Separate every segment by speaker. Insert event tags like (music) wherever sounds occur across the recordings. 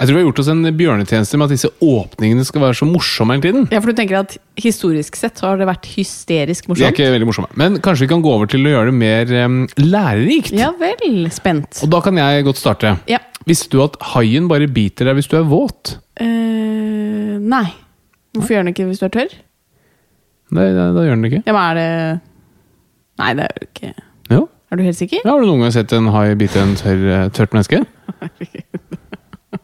Speaker 1: Jeg tror vi har gjort oss en bjørnetjeneste med at disse åpningene skal være så morsomme hele tiden.
Speaker 2: Ja, for du tenker at historisk sett så har det vært hysterisk
Speaker 1: De er
Speaker 2: morsomt?
Speaker 1: ikke veldig morsomme. Men kanskje vi kan gå over til å gjøre det mer em, lærerikt?
Speaker 2: Ja vel. Spent.
Speaker 1: Og da kan jeg godt starte.
Speaker 2: Ja.
Speaker 1: Visste du at haien bare biter deg hvis du er våt?
Speaker 2: Eh, nei. Hvorfor gjør den ikke det hvis du er tørr?
Speaker 1: Nei, da, da gjør den ikke.
Speaker 2: Ja, men er det Nei, det er jo ikke
Speaker 1: Jo.
Speaker 2: Er du helt sikker?
Speaker 1: Ja, har du noen gang sett en hai bite en tørr, eh, tørt menneske?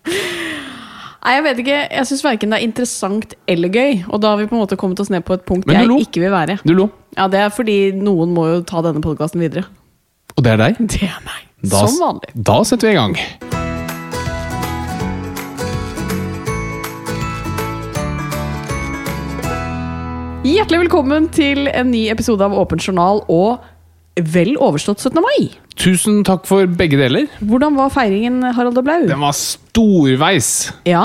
Speaker 2: Nei, jeg vet ikke. Jeg syns verken det er interessant eller gøy. Og da har vi på en måte kommet oss ned på et punkt
Speaker 1: Men du
Speaker 2: jeg
Speaker 1: lo.
Speaker 2: ikke vil være.
Speaker 1: Du lo.
Speaker 2: Ja, det er fordi noen må jo ta denne podkasten videre. (laughs)
Speaker 1: Og det er deg.
Speaker 2: Det er meg.
Speaker 1: Da,
Speaker 2: Som vanlig.
Speaker 1: Da setter vi i gang.
Speaker 2: Hjertelig velkommen til en ny episode av Åpen journal og vel overstått 17. mai.
Speaker 1: Tusen takk for begge deler.
Speaker 2: Hvordan var feiringen, Harald og Blau?
Speaker 1: Den var storveis.
Speaker 2: Ja?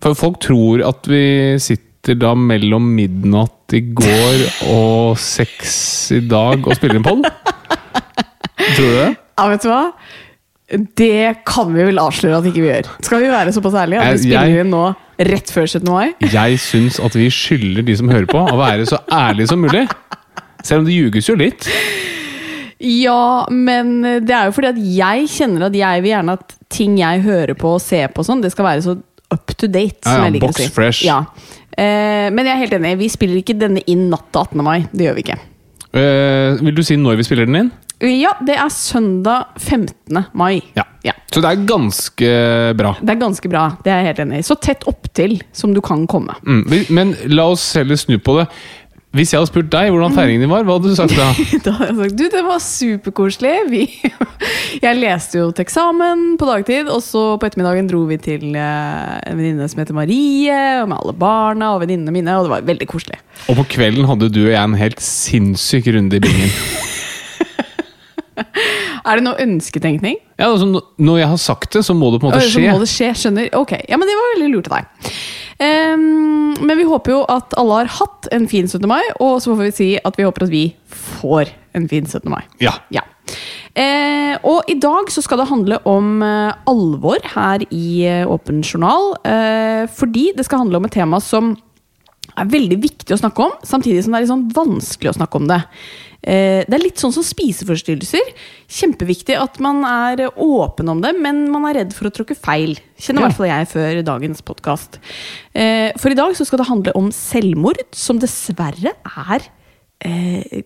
Speaker 1: For folk tror at vi sitter da mellom midnatt i går og seks i dag og spiller en poll. Tror du det?
Speaker 2: ja, vet du hva? Det kan vi vel avsløre at ikke vi gjør. Skal vi være såpass ærlige at vi
Speaker 1: Jeg- jeg-
Speaker 2: spiller inn nå rett før 17. mai?
Speaker 1: Jeg syns at vi skylder de som hører på, å være så ærlige som mulig. Selv om det ljuges jo litt.
Speaker 2: Ja, men det er jo fordi at jeg kjenner at jeg vil gjerne at ting jeg hører på og ser på og sånn, det skal være så up to date.
Speaker 1: Ja,
Speaker 2: som
Speaker 1: ja,
Speaker 2: jeg liker å
Speaker 1: box
Speaker 2: si.
Speaker 1: fresh.
Speaker 2: Ja. Eh, men jeg er helt enig, vi spiller ikke denne inn natt til 18. mai. Det gjør vi ikke.
Speaker 1: Eh, vil du si når vi spiller den inn?
Speaker 2: Ja, det er søndag 15. mai.
Speaker 1: Ja. Så det er ganske bra.
Speaker 2: Det er ganske bra, det er jeg helt enig i. Så tett opptil som du kan komme.
Speaker 1: Mm. vi- Men la oss heller snu på det. Hvis jeg hadde spurt deg hvordan feiringen din var, hva hadde du sagt da?
Speaker 2: (laughs) Da har jeg sagt, du, det var superkoselig. Vi, (laughs) jeg leste jo til eksamen på dagtid, og så på ettermiddagen dro vi til eh, en venninne som heter Marie, og med alle barna og venninnene mine, og det var veldig koselig.
Speaker 1: (laughs) Og på kvelden hadde du og jeg en helt sinnssyk runde i bingen.
Speaker 2: Er det noe ønsketenkning?
Speaker 1: Ja, altså, no- når jeg har sagt det, så må det på en måte
Speaker 2: Å, så
Speaker 1: skje.
Speaker 2: Må det skje, skjønner. Ok, ja, men det var veldig lurt av deg. Ehm, men vi håper jo at alle har hatt en fin 17. mai, og så får vi si at vi håper at vi får en fin 17. mai.
Speaker 1: Ja.
Speaker 2: Ja. Eh, og i dag så skal det handle om eh, alvor her i eh, Åpen journal. Eh, fordi det skal handle om et tema som er veldig viktig å snakke om, samtidig som det er litt sånn vanskelig å snakke om det. Eh, det er litt sånn som spiseforstyrrelser. Kjempeviktig at man er åpen om det, men man er redd for å tråkke feil. Kjenner i hvert fall jeg før dagens podkast. Eh, for i dag så skal det handle om selvmord, som dessverre er eh,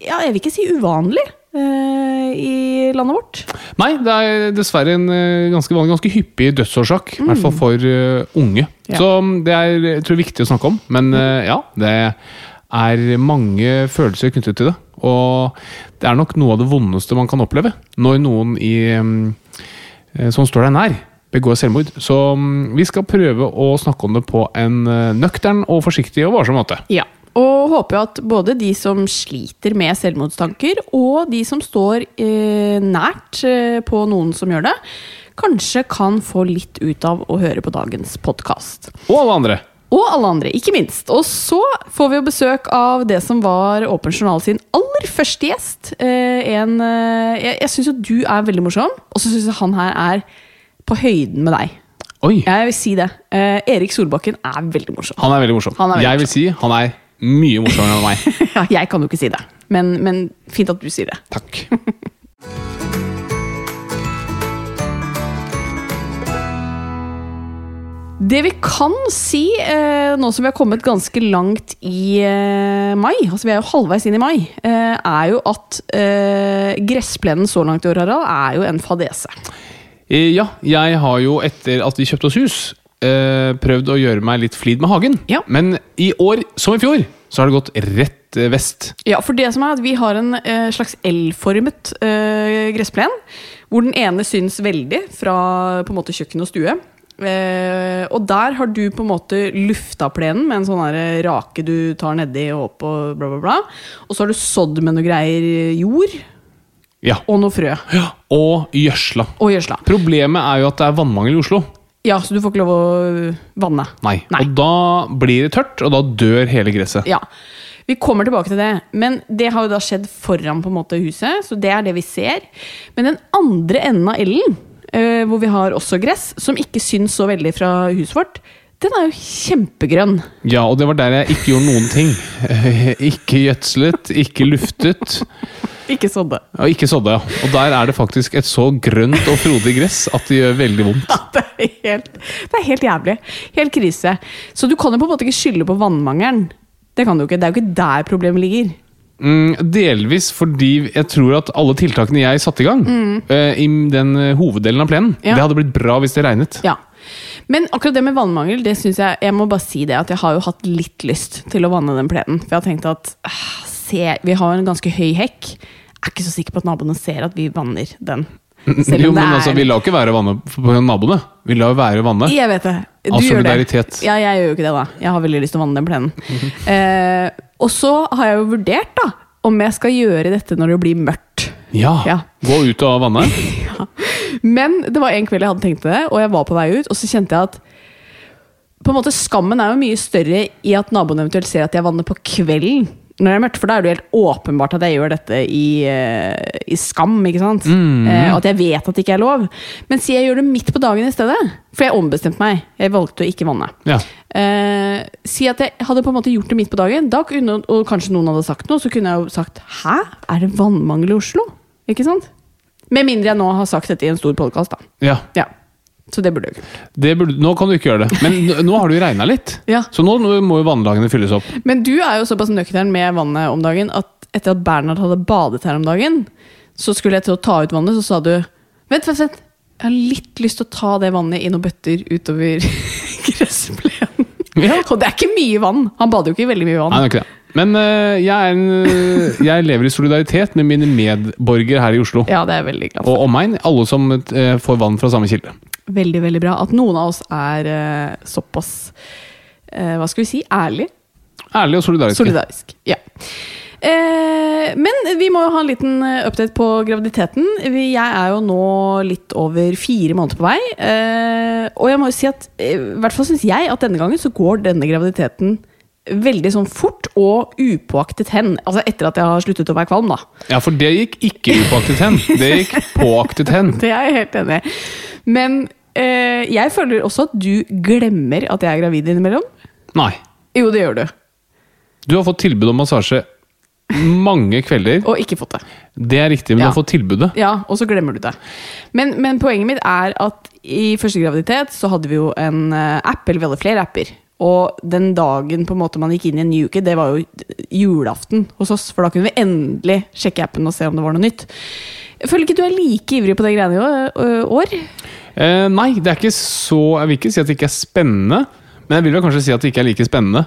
Speaker 2: ja, jeg vil ikke si uvanlig eh, i landet vårt.
Speaker 1: Nei, det er dessverre en eh, ganske vanlig, ganske hyppig dødsårsak. I hvert fall for eh, unge.
Speaker 2: Mm. Ja. Mm.
Speaker 1: Så mm, det er jeg tror, viktig å snakke om. Men eh, ja, det er mange følelser knyttet til det. Og det er nok noe av det vondeste man kan oppleve. Når noen i, mm, eh, som står deg nær, begår selvmord. Så mm, vi skal prøve å snakke om det på en eh, nøktern og forsiktig og varsom måte.
Speaker 2: Ja, Og håper jo at både de som sliter med selvmordstanker, og de som står eh, nært eh, på noen som gjør det, kanskje kan få litt ut av å høre på dagens podkast.
Speaker 1: Og alle andre.
Speaker 2: Og alle andre, ikke minst. Og så får vi jo besøk av det som var Åpen journal sin aller første gjest. Eh, en, eh, jeg jeg syns jo du er veldig morsom, og så syns jeg han her er på høyden med deg.
Speaker 1: Oi!
Speaker 2: Jeg vil si det. Eh, Erik Solbakken er veldig morsom.
Speaker 1: Han er veldig morsom.
Speaker 2: Han er veldig
Speaker 1: jeg vil si han er mye morsommere enn
Speaker 2: (laughs)
Speaker 1: meg.
Speaker 2: (laughs) Ja, jeg kan jo ikke si det, men, men fint at du sier det.
Speaker 1: Takk.
Speaker 2: Det vi kan si, eh, nå som vi har kommet ganske langt i eh, mai, altså vi er jo halvveis inn i mai, eh, er jo at eh, gressplenen så langt i år, Harald, er jo en fadese.
Speaker 1: Eh, Ja, jeg har jo etter at vi kjøpte oss hus, eh, prøvd å gjøre meg litt flid med hagen.
Speaker 2: Ja.
Speaker 1: Men i år, som i fjor, så har det gått rett eh, vest.
Speaker 2: Ja, for det som er at vi har en eh, slags L-formet eh, gressplen, hvor den ene syns veldig fra på en måte kjøkken og stue. Eh, og der har du på en måte lufta plenen med en sånn her rake du tar nedi og opp og bla, bla, bla. Og så har du sådd med noe greier jord
Speaker 1: Ja.
Speaker 2: og noe frø.
Speaker 1: Og gjødsla.
Speaker 2: Og gjødsla.
Speaker 1: Problemet er jo at det er vannmangel i Oslo.
Speaker 2: Ja, så du får ikke lov å vanne.
Speaker 1: Nei.
Speaker 2: Nei.
Speaker 1: Og da blir det tørt, og da dør hele gresset.
Speaker 2: Ja. Vi kommer tilbake til det, men det har jo da skjedd foran på en måte huset. Så det er det vi ser. Men den andre enden av L-en, eh, hvor vi har også gress, som ikke syns så veldig fra huset vårt, den er jo kjempegrønn.
Speaker 1: Ja, og det var der jeg ikke gjorde noen ting. (laughs) Eh, Ikke gjødslet, ikke luftet,
Speaker 2: Ikke sånn det.
Speaker 1: og ikke sådde. ja. Og der er det faktisk et så grønt og frodig gress at det gjør veldig vondt.
Speaker 2: (laughs) Det er helt, det er helt jævlig. Helt krise. Så du kan jo på en måte ikke skylde på vannmangelen. Det kan du ikke. Det er jo ikke der problemet ligger.
Speaker 1: Mm, Delvis fordi jeg tror at alle tiltakene jeg satte i gang, eh, i den eh, hoveddelen av plenen,
Speaker 2: Mm. Ja.
Speaker 1: det hadde blitt bra hvis det regnet.
Speaker 2: Ja. Men akkurat det med vannmangel, det synes jeg Jeg må bare si det at jeg har jo hatt litt lyst til å vanne den plenen. For jeg har tenkt at ah, se, vi har en ganske høy hekk. Jeg er ikke så sikker på at naboene ser at vi vanner
Speaker 1: (laughs)
Speaker 2: den. Selv
Speaker 1: jo,
Speaker 2: om det
Speaker 1: men altså,
Speaker 2: er-
Speaker 1: Vi lar jo ikke være vanne på naboene. Vi lar jo være vanne.
Speaker 2: jeg vet det. Du
Speaker 1: Av
Speaker 2: gjør det.
Speaker 1: solidaritet.
Speaker 2: Ja, jeg gjør jo ikke det, da. Jeg har veldig lyst til å vanne den
Speaker 1: (laughs)
Speaker 2: plenen. eh, og så har jeg jo vurdert, da, om jeg skal gjøre dette når det blir mørkt.
Speaker 1: Ja.
Speaker 2: Ja.
Speaker 1: Gå ut og vanne.
Speaker 2: Men det var en kveld jeg hadde tenkt det, og jeg var på vei ut, og så kjente jeg at på en måte Skammen er jo mye større i at naboen eventuelt ser at jeg vanner på kvelden. Når det er mørkt, For da er det jo helt åpenbart at jeg gjør dette i, eh, i skam. ikke sant? Eh, og at jeg vet at det ikke er lov. Men si jeg gjør det midt på dagen i stedet. For jeg ombestemte meg. Jeg valgte å ikke vanne.
Speaker 1: Ja.
Speaker 2: Eh, si at jeg hadde på en måte gjort det midt på dagen, da kunne, og kanskje noen hadde sagt noe, så kunne jeg jo sagt 'hæ, er det vannmangel i Oslo?' Ikke sant? Med mindre jeg nå har sagt dette i en stor podkast, da.
Speaker 1: ja.
Speaker 2: Ja. Så det burde jeg gjort.
Speaker 1: Det burde, nå kan du ikke gjøre det. Men n- nå har det jo regna litt,
Speaker 2: Ja.
Speaker 1: så nå må jo vannlagene fylles opp.
Speaker 2: Men du er jo såpass nøktern med vannet om dagen at etter at Bernhard hadde badet her om dagen, så skulle jeg til å ta ut vannet, så sa du 'vent, vent, vent'. Jeg har litt lyst til å ta det vannet i noen bøtter utover (laughs) gressplenen.
Speaker 1: Ja.
Speaker 2: Og det er ikke mye vann. Han bader jo ikke i veldig mye vann.
Speaker 1: Nei, det er ikke det. Men eh, jeg, er en, eh, jeg lever i solidaritet med mine medborgere her i Oslo.
Speaker 2: Ja, det er jeg veldig glad for.
Speaker 1: Og omegn. Alle som eh, får vann fra samme kilde.
Speaker 2: Veldig, veldig bra at noen av oss er eh, såpass eh, Hva skal vi si? Ærlig?
Speaker 1: Ærlig og solidarisk.
Speaker 2: Solidarisk. Ja. Eh, men vi må jo ha en liten eh, update på graviditeten. Vi, jeg er jo nå litt over fire måneder på vei. Eh, og jeg må jo si at eh, i hvert fall syns jeg at denne gangen så går denne graviditeten veldig sånn fort og upåaktet hen. Altså etter at jeg har sluttet å være kvalm, da. (laughs)
Speaker 1: Ja, for det gikk ikke upåaktet hen. Det gikk påaktet hen.
Speaker 2: Det er jeg helt enig i. Men eh, jeg føler også at du glemmer at jeg er gravid innimellom.
Speaker 1: Nei.
Speaker 2: Jo, det gjør du.
Speaker 1: Du har fått tilbud om massasje mange kvelder.
Speaker 2: Og ikke fått det.
Speaker 1: Det er riktig, men
Speaker 2: Ja.
Speaker 1: du har fått tilbudet.
Speaker 2: Ja, Og så glemmer du det. Men, men poenget mitt er at i første graviditet så hadde vi jo en eh, app, eller vi hadde flere apper. Og den dagen på en måte man gikk inn i en ny uke, det var jo julaften hos oss. For da kunne vi endelig sjekke appen og se om det var noe nytt. Jeg føler ikke du er like ivrig på det greiene i å- ø- år.
Speaker 1: Eh, nei, det er ikke så Jeg vil ikke si at det ikke er spennende, men jeg vil vel kanskje si at det ikke er like
Speaker 2: (laughs)
Speaker 1: spennende.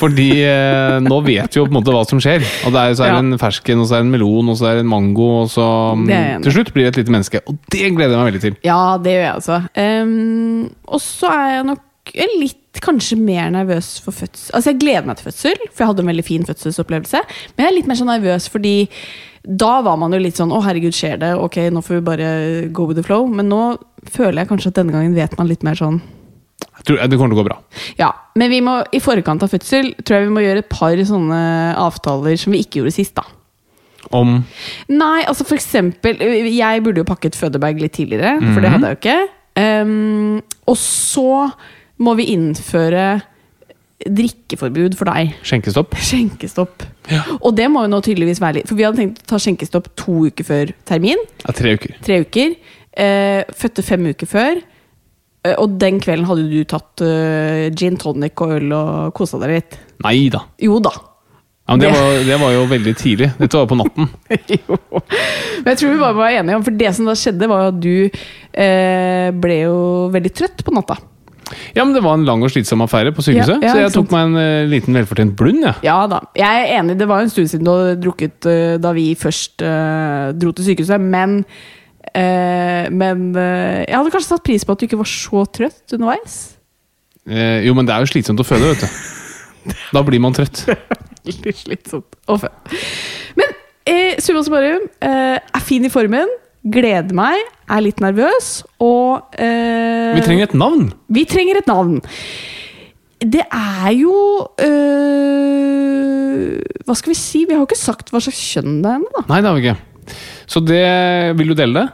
Speaker 1: Fordi eh, nå vet vi jo på en måte hva som skjer. Og det er, så er
Speaker 2: Ja.
Speaker 1: det en fersken, og så er det en melon, og så er det en mango, og så mm,
Speaker 2: Det er jeg enig i.
Speaker 1: Til slutt blir det et lite menneske. Og det gleder jeg meg veldig til.
Speaker 2: Ja, det gjør jeg altså. Ehm, og så er jeg nok litt litt kanskje mer nervøs for fødsel. Altså Jeg gleder meg til fødsel, for jeg hadde en veldig fin fødselsopplevelse. Men jeg er litt mer sånn nervøs fordi da var man jo litt sånn 'Å, herregud, skjer det? Ok, nå får vi bare go with the flow'. Men nå føler jeg kanskje at denne gangen vet man litt mer sånn
Speaker 1: Jeg tror, eh, det kommer til å gå bra.
Speaker 2: ja, men vi må, i forkant av fødsel tror jeg vi må gjøre et par sånne avtaler som vi ikke gjorde sist. da.
Speaker 1: Om
Speaker 2: Nei, altså for eksempel øh, Jeg burde jo pakket fødebag litt tidligere, for det hadde jeg jo ikke. Ehm, og så må vi innføre drikkeforbud for deg. (laughs)
Speaker 1: skjenkestopp.
Speaker 2: Skjenkestopp. Og det må jo nå tydeligvis være litt For vi hadde tenkt å ta skjenkestopp to uker før termin.
Speaker 1: Ja, tre uker.
Speaker 2: Tre uker. eh, fødte fem uker før. eh, og den kvelden hadde du tatt eh, gin tonic og øl og kosa deg litt.
Speaker 1: Nei da.
Speaker 2: Jo da.
Speaker 1: Ja, men det,
Speaker 2: Det-
Speaker 1: var, det var jo veldig tidlig. Dette var på natten.
Speaker 2: jo. Men jeg tror vi bare var enige om For det som da skjedde, var jo at du eh, ble jo veldig trøtt på natta.
Speaker 1: (laughs) Ja, men Det var en lang og slitsom affære på sykehuset,
Speaker 2: Ja, ja,
Speaker 1: så jeg
Speaker 2: ikke sant.
Speaker 1: tok meg en eh, liten velfortjent blund. jeg.
Speaker 2: Ja da. Jeg er enig, det var en stund siden du hadde drukket eh, da vi først eh, dro til sykehuset, men eh, men eh, jeg hadde kanskje satt pris på at du ikke var så trøtt underveis. (laughs)
Speaker 1: Eh, jo, men det er jo slitsomt å føde, vet du. Da blir man trøtt.
Speaker 2: Veldig slitsomt. Og fø. Men eh, summa summarum, eh, er fin i formen, gleder meg, er litt nervøs og eh,
Speaker 1: Vi trenger et navn!
Speaker 2: Vi trenger et navn. Det er jo øh, Hva skal vi si? Vi har jo ikke sagt hva slags kjønn det er ennå, da.
Speaker 1: Nei, det har vi ikke. Så det Vil du dele det?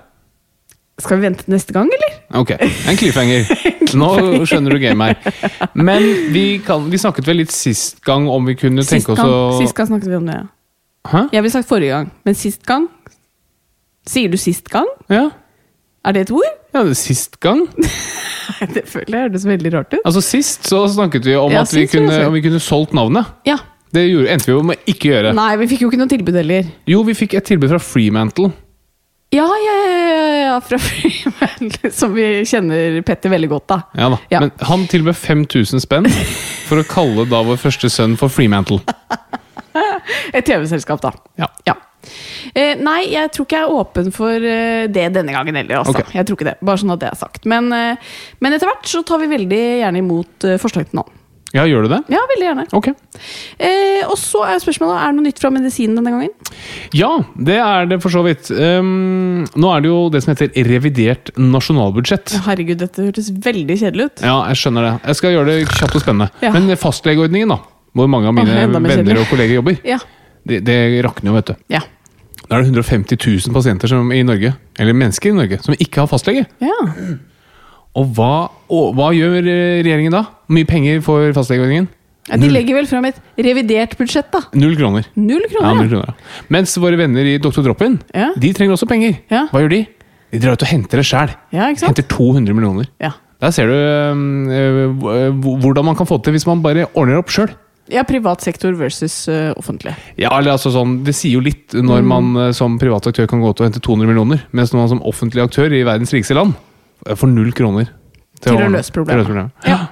Speaker 2: Skal vi vente til neste gang, eller?
Speaker 1: Ok, en (laughs) cliffhanger. Nå skjønner du gamet her. Men vi, kan, vi snakket vel litt sist gang om vi kunne
Speaker 2: Sist
Speaker 1: tenke oss
Speaker 2: gang,
Speaker 1: å
Speaker 2: sist gang snakket vi om det. ja.
Speaker 1: Hæ?
Speaker 2: Jeg ville sagt forrige gang, men sist gang Sier du sist gang?
Speaker 1: Ja.
Speaker 2: Er det et ord? (laughs)
Speaker 1: ja, det er sist gang.
Speaker 2: Det føler jeg høres veldig rart ut.
Speaker 1: Altså Sist så snakket vi om
Speaker 2: Ja,
Speaker 1: at vi
Speaker 2: sist var det
Speaker 1: kunne,
Speaker 2: sist.
Speaker 1: om vi kunne solgt navnet.
Speaker 2: Ja.
Speaker 1: Det gjorde, endte vi jo med ikke gjøre.
Speaker 2: Nei, vi fikk jo ikke noe tilbud heller.
Speaker 1: Jo, vi fikk et tilbud fra Freemantle.
Speaker 2: Ja, ja, ja, ja, ja fra (laughs) Freeman, som vi kjenner Petter veldig godt, da.
Speaker 1: Ja da.
Speaker 2: Ja.
Speaker 1: Men han tilbød 5000 spenn for å kalle da vår første sønn for Freemantle.
Speaker 2: Et TV-selskap, da.
Speaker 1: Ja.
Speaker 2: Eh, nei, jeg tror ikke jeg er åpen for eh, det denne gangen heller. Altså.
Speaker 1: Ok.
Speaker 2: Jeg tror ikke det, Bare sånn at det er sagt. Men, eh, men etter hvert så tar vi veldig gjerne imot eh, forslag til navn.
Speaker 1: ja, gjør du det?
Speaker 2: Ja, veldig gjerne.
Speaker 1: Ok.
Speaker 2: Eh, og så er spørsmålet er det noe nytt fra medisinen denne gangen.
Speaker 1: Ja, det er det for så vidt. Ehm, nå er det jo det som heter revidert nasjonalbudsjett.
Speaker 2: Å, Herregud, dette hørtes veldig kjedelig ut.
Speaker 1: Ja, jeg skjønner det. Jeg skal gjøre det kjapt og spennende.
Speaker 2: Ja.
Speaker 1: Men fastlegeordningen, da. Hvor mange av mine
Speaker 2: Åh, enda mer
Speaker 1: venner
Speaker 2: kjedelig.
Speaker 1: og kolleger jobber.
Speaker 2: Ja.
Speaker 1: Det, det rakner jo, vet du.
Speaker 2: Ja.
Speaker 1: Da er det 150 000 pasienter som, i Norge, eller mennesker i Norge, som ikke har fastlege.
Speaker 2: ja.
Speaker 1: Og hva, og hva gjør eh, regjeringen da? Hvor mye penger får fastlegeordningen?
Speaker 2: Ja, De legger vel fram et revidert budsjett, da.
Speaker 1: Null kroner.
Speaker 2: Null
Speaker 1: Ja, null
Speaker 2: kroner.
Speaker 1: kroner. ja. Mens våre venner i Dr. Droppen,
Speaker 2: Ja.
Speaker 1: de trenger også penger.
Speaker 2: Ja.
Speaker 1: Hva gjør de? De drar ut og henter det sjæl.
Speaker 2: Ja, ikke sant?
Speaker 1: Henter 200 millioner.
Speaker 2: Ja.
Speaker 1: Der ser du øhm, øh, hvor- hvordan man kan få det til hvis man bare ordner opp sjøl.
Speaker 2: ja, privat sektor versus eh, offentlig.
Speaker 1: Ja, eller altså sånn, Det sier jo litt når
Speaker 2: Mm.
Speaker 1: man eh, som privat aktør kan gå ut og hente 200 millioner, mens når man som offentlig aktør i verdens rikeste land eh, får null kroner.
Speaker 2: Til å
Speaker 1: ordne-
Speaker 2: løse problemet.
Speaker 1: Ja.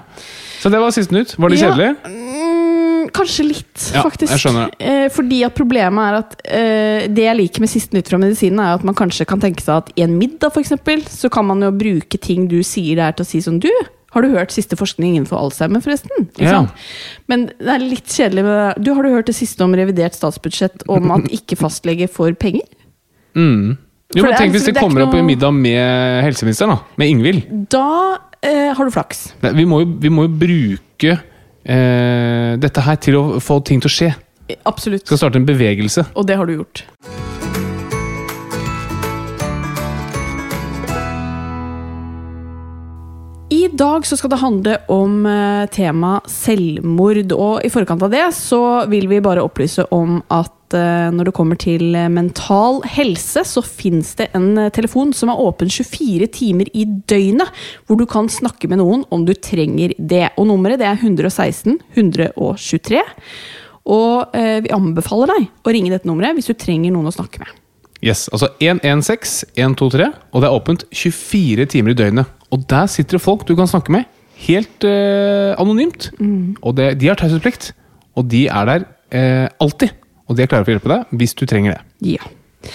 Speaker 1: Så det var siste nytt. Var det
Speaker 2: Ja,
Speaker 1: kjedelig?
Speaker 2: Mm, kanskje litt,
Speaker 1: Ja,
Speaker 2: faktisk.
Speaker 1: jeg skjønner det.
Speaker 2: Eh, fordi at problemet er at eh, Det jeg liker med Siste nytt fra medisinen, er at man kanskje kan tenke seg at i en middag, for eksempel, så kan man jo bruke ting du sier der, til å si som du. Har du hørt siste forskning innenfor Alzheimer, forresten? Ikke
Speaker 1: Ja.
Speaker 2: sant? Men det er litt kjedelig med det. Du, Har du hørt det siste om revidert statsbudsjett, om
Speaker 1: (laughs)
Speaker 2: at ikke fastlege får penger?
Speaker 1: Mm. Jo,
Speaker 2: For det
Speaker 1: men
Speaker 2: er
Speaker 1: Tenk hvis
Speaker 2: liksom-
Speaker 1: det
Speaker 2: det er
Speaker 1: kommer
Speaker 2: ikke
Speaker 1: opp i
Speaker 2: noe-
Speaker 1: middag med helseministeren, da. Med Ingvild.
Speaker 2: Da eh, har du flaks.
Speaker 1: Nei, Vi må jo, vi må jo bruke eh, dette her til å få ting til å skje.
Speaker 2: Eh, Absolutt.
Speaker 1: Skal starte en bevegelse.
Speaker 2: Og det har du gjort. I dag så skal det handle om eh, tema selvmord, og i forkant av det så vil vi bare opplyse om at eh, når det kommer til eh, mental helse, så fins det en eh, telefon som er åpen 24 timer i døgnet, hvor du kan snakke med noen om du trenger det. Og nummeret det er 116 123. Og eh, vi anbefaler deg å ringe dette nummeret hvis du trenger noen å snakke med.
Speaker 1: Yes, altså 116 123, og det er åpent 24 timer i døgnet. Og der sitter det folk du kan snakke med, helt eh, anonymt.
Speaker 2: Mm.
Speaker 1: Og det, de har taushetsplikt, og de er der eh, alltid. Og de er klare for å hjelpe deg hvis du trenger det.
Speaker 2: Ja.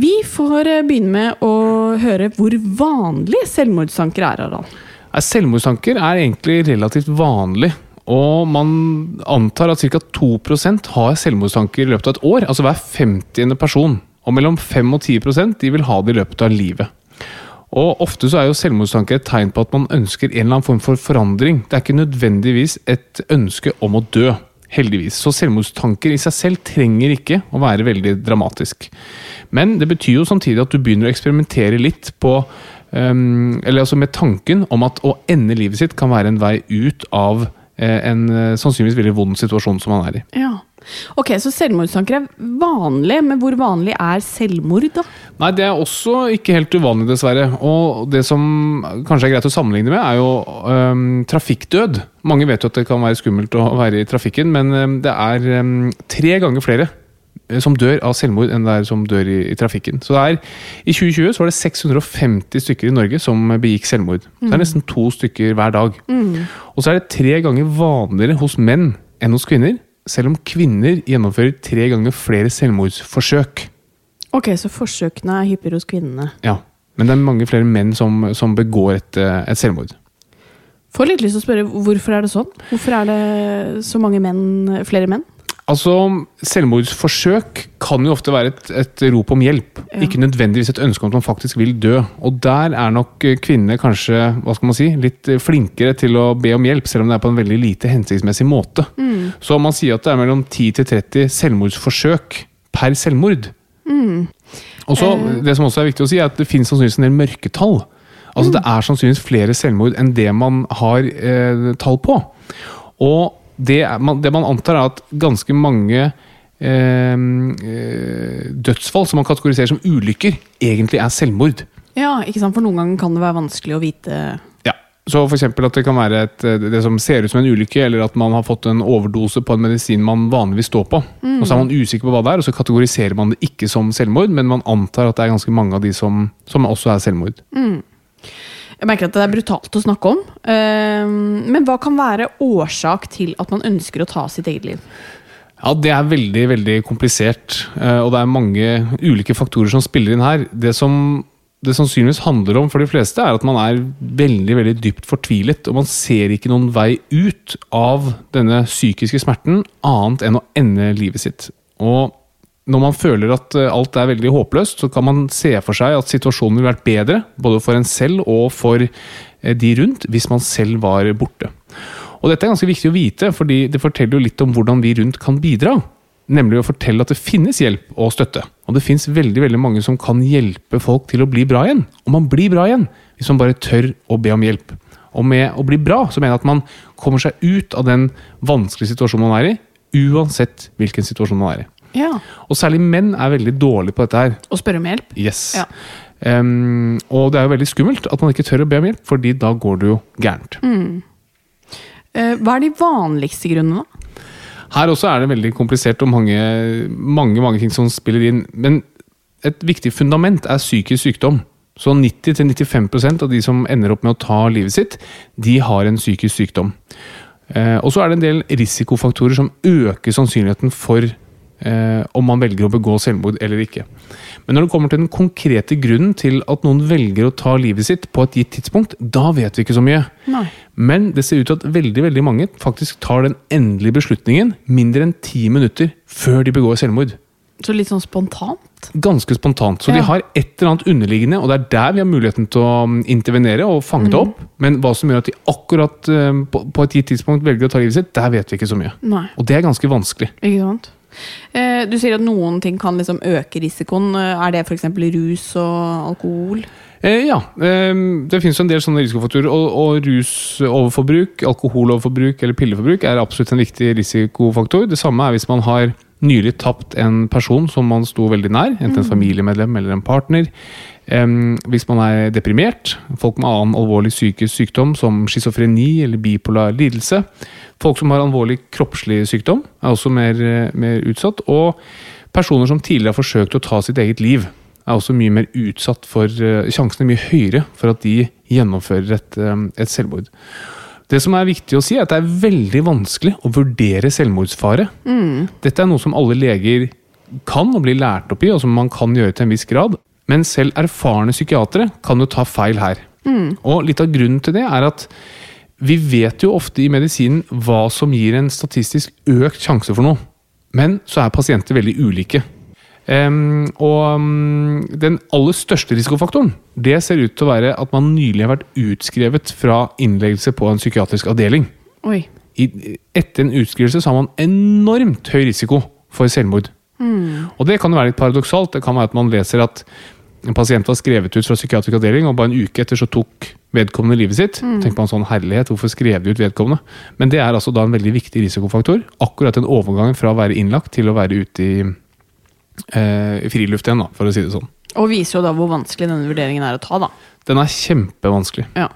Speaker 2: Vi får eh, begynne med å høre hvor vanlig selvmordstanker er, Harald.
Speaker 1: Nei, Selvmordstanker er egentlig relativt vanlig. Og man antar at ca. 2 har selvmordstanker i løpet av et år. Altså hver 50. person. Og mellom 5 og 10 de vil ha det i løpet av livet. Og ofte så er jo selvmordstanker et tegn på at man ønsker en eller annen form for forandring. Det er ikke nødvendigvis et ønske om å dø. Heldigvis. Så selvmordstanker i seg selv trenger ikke å være veldig dramatisk. Men det betyr jo samtidig at du begynner å eksperimentere litt på ehm, Eller altså med tanken om at å ende livet sitt kan være en vei ut av eh, en eh, sannsynligvis veldig vond situasjon som man er i.
Speaker 2: Ja. Ok, Så selvmordstanker er vanlig, men hvor vanlig er selvmord, da?
Speaker 1: Nei, det er også ikke helt uvanlig, dessverre. Og det som kanskje er greit å sammenligne med, er jo øhm, trafikkdød. Mange vet jo at det kan være skummelt å være i trafikken, men øhm, det er øhm, tre ganger flere eh, som dør av selvmord enn det er som dør i, i trafikken. Så det er, I 2020 så var det 650 stykker i Norge som begikk selvmord. Så det er nesten to stykker hver dag. Og så er det tre ganger vanligere hos menn enn hos kvinner, selv om kvinner gjennomfører tre ganger flere selvmordsforsøk.
Speaker 2: Ok, Så forsøkene er hyppigere hos kvinnene.
Speaker 1: Ja, men det er mange flere menn som, som begår et, eh, et selvmord.
Speaker 2: Får litt lyst til å spørre, Hvorfor er det sånn? Hvorfor er det så mange menn, flere menn?
Speaker 1: Altså, Selvmordsforsøk kan jo ofte være et, et rop om hjelp. Ikke nødvendigvis et ønske om at man faktisk vil dø. Og der er nok eh, kvinner kanskje hva skal man si, litt eh, flinkere til å be om hjelp, selv om det er på en veldig lite hensiktsmessig måte. Så man sier at det er mellom 10 til 30 selvmordsforsøk per selvmord. Og så, Det som også er viktig å si, er at det finnes sannsynligvis en del mørketall. Altså Det er sannsynligvis flere selvmord enn det man har eh, tall på. Og det, er, man, det man antar, er at ganske mange eh, eh, dødsfall som man kategoriserer som ulykker, egentlig er selvmord.
Speaker 2: Ja, ikke sant? For noen ganger kan det være vanskelig å vite
Speaker 1: Ja, Så f.eks. at det kan være et, eh, det som ser ut som en ulykke, eller at man har fått en overdose på en medisin man vanligvis står på. Og Så er man usikker på hva det er, og så kategoriserer man det ikke som selvmord, men man antar at det er ganske mange av de som, som også er selvmord.
Speaker 2: Jeg merker at det er brutalt å snakke om. eh, Men hva kan være årsak til at man ønsker å ta sitt eget liv?
Speaker 1: Ja, Det er veldig veldig komplisert, eh, og det er mange ulike faktorer som spiller inn her. Det som det sannsynligvis handler om for de fleste, er at man er veldig veldig dypt fortvilet, og man ser ikke noen vei ut av denne psykiske smerten annet enn å ende livet sitt. Og når man føler at eh, alt er veldig håpløst, så kan man se for seg at situasjonen ville vært bedre, både for en selv og for eh, de rundt, hvis man selv var borte. Og dette er ganske viktig å vite, fordi det forteller jo litt om hvordan vi rundt kan bidra. Nemlig å fortelle at det finnes hjelp og støtte. Og det finnes veldig veldig mange som kan hjelpe folk til å bli bra igjen. Og man blir bra igjen hvis man bare tør å be om hjelp. Og med å bli bra så mener jeg at man kommer seg ut av den vanskelige situasjonen man er i, uansett hvilken situasjon man er i.
Speaker 2: Ja,
Speaker 1: Og særlig menn er veldig dårlige på dette her.
Speaker 2: Å spørre om hjelp?
Speaker 1: Yes.
Speaker 2: Ja.
Speaker 1: Ehm, og det er jo veldig skummelt at man ikke tør å be om hjelp, fordi da går det jo gærent.
Speaker 2: Eh, Hva er de vanligste grunnene? da?
Speaker 1: Her også er det veldig komplisert og mange, mange, mange ting som spiller inn. Men et viktig fundament er psykisk sykdom. Så 90-95 av de som ender opp med å ta livet sitt, de har en psykisk sykdom. Eh, og så er det en del risikofaktorer som øker sannsynligheten for eh, om man velger å begå selvmord eller ikke. Men når det kommer til den konkrete grunnen til at noen velger å ta livet sitt på et gitt tidspunkt, da vet vi ikke så mye.
Speaker 2: Nei.
Speaker 1: Men det ser ut til at veldig veldig mange faktisk tar den endelige beslutningen mindre enn ti minutter før de begår selvmord.
Speaker 2: Så litt sånn spontant?
Speaker 1: Ganske spontant. Så
Speaker 2: Ja.
Speaker 1: de har et eller annet underliggende, og det er der vi har muligheten til å mm, intervenere og fange det opp. Men hva som gjør at de akkurat eh, på, på et gitt tidspunkt velger å ta livet sitt, der vet vi ikke så mye.
Speaker 2: Nei.
Speaker 1: Og det er ganske vanskelig.
Speaker 2: Ikke sant? Eh, Du sier at noen ting kan liksom øke risikoen. Eh, Er det f.eks. rus og alkohol?
Speaker 1: Eh, ja, eh, det finnes jo en del sånne risikofaktorer, og, og rusoverforbruk, alkoholoverforbruk eller pilleforbruk er absolutt en viktig risikofaktor. Det samme er hvis man har nylig tapt en person som man sto veldig nær, enten en familiemedlem eller en partner. Eh, hvis man er deprimert, folk med annen alvorlig psykisk sykdom som schizofreni eller bipolar lidelse. Folk som har alvorlig kroppslig sykdom er også mer, eh, mer utsatt. Og personer som tidligere har forsøkt å ta sitt eget liv er også mye mer utsatt for eh, Sjansen er mye høyere for at de gjennomfører et, eh, et selvmord. Det som er viktig å si, er at det er veldig vanskelig å vurdere selvmordsfare. Dette er noe som alle leger kan og blir lært opp i, og som man kan gjøre til en viss grad. Men selv erfarne psykiatere kan jo ta feil her. Og litt av grunnen til det er at vi vet jo ofte i medisinen hva som gir en statistisk økt sjanse for noe. Men så er pasienter veldig ulike. Ehm, og mm, den aller største risikofaktoren det ser ut til å være at man nylig har vært utskrevet fra innleggelse på en psykiatrisk avdeling.
Speaker 2: Oi.
Speaker 1: I, etter en utskrivelse så har man enormt høy risiko for selvmord. Og det kan jo være litt paradoksalt. Det kan være at man leser at en pasient var skrevet ut fra psykiatrisk avdeling, og bare en uke etter så tok vedkommende livet sitt. Tenk på en sånn herlighet, hvorfor skrev de ut vedkommende? Men det er altså da en veldig viktig risikofaktor. Akkurat den overgangen fra å være innlagt til å være ute i eh, friluft igjen, da, for å si det sånn.
Speaker 2: Og viser jo da hvor vanskelig denne vurderingen er å ta, da.
Speaker 1: Den er kjempevanskelig.
Speaker 2: Ja.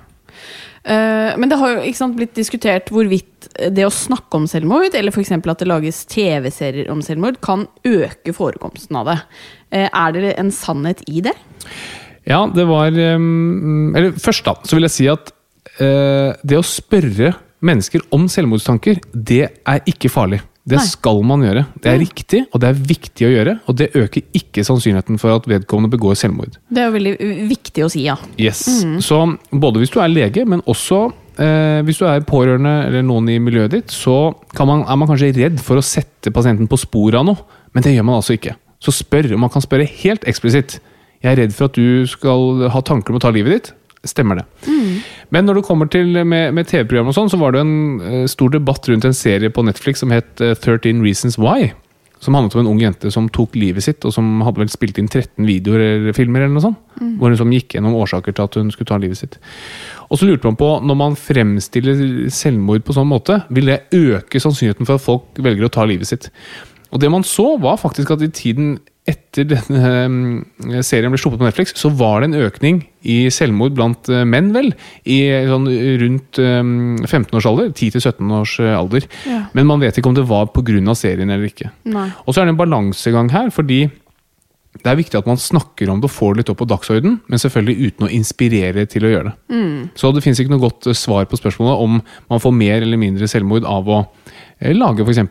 Speaker 2: Eh, men det har jo ikke sant, blitt diskutert hvorvidt det å snakke om selvmord, eller f.eks. at det lages TV-serier om selvmord, kan øke forekomsten av det. Eh, er det en sannhet i det?
Speaker 1: Ja, det var ehm, Eller først, da, så vil jeg si at eh, det å spørre mennesker om selvmordstanker, det er ikke farlig. Det
Speaker 2: Nei.
Speaker 1: skal man gjøre. Det er riktig, og det er viktig å gjøre. Og det øker ikke sannsynligheten for at vedkommende begår selvmord.
Speaker 2: Det er jo veldig eh, viktig å si, ja.
Speaker 1: Yes. Så både hvis du er lege, men også eh, hvis du er pårørende eller noen i miljøet ditt, så kan man, er man kanskje redd for å sette pasienten på sporet av noe, men det gjør man altså ikke. Så spør, og man kan spørre helt eksplisitt. Jeg er redd for at du skal ha tanker om å ta livet ditt. Stemmer det. Men når det kommer til med, med TV-program og sånn, så var det en eh, stor debatt rundt en serie på Netflix som het eh, 13 Reasons Why. Som handlet om en ung jente som tok livet sitt, og som hadde vel spilt inn 13 videoer eller filmer. eller noe sånt,
Speaker 2: Mm.
Speaker 1: Hvor hun som gikk gjennom årsaker til at hun skulle ta livet sitt. Og så lurte man på, når man fremstiller selvmord på sånn måte, vil det øke sannsynligheten for at folk velger å ta livet sitt. Og det man så, var faktisk at i tiden etter denne eh, serien ble sluppet på Netflix, så var det en økning i selvmord blant eh, menn, vel. I sånn rundt eh, 15 års alder. 10-17 års eh, alder.
Speaker 2: Ja.
Speaker 1: Men man vet ikke om det var pga. serien eller ikke.
Speaker 2: Nei.
Speaker 1: Og så er det en balansegang her, fordi det er viktig at man snakker om det og får det litt opp på dagsorden, men selvfølgelig uten å inspirere til å gjøre det. Så det finnes ikke noe godt eh, svar på spørsmålet om man får mer eller mindre selvmord av å eh, lage f.eks.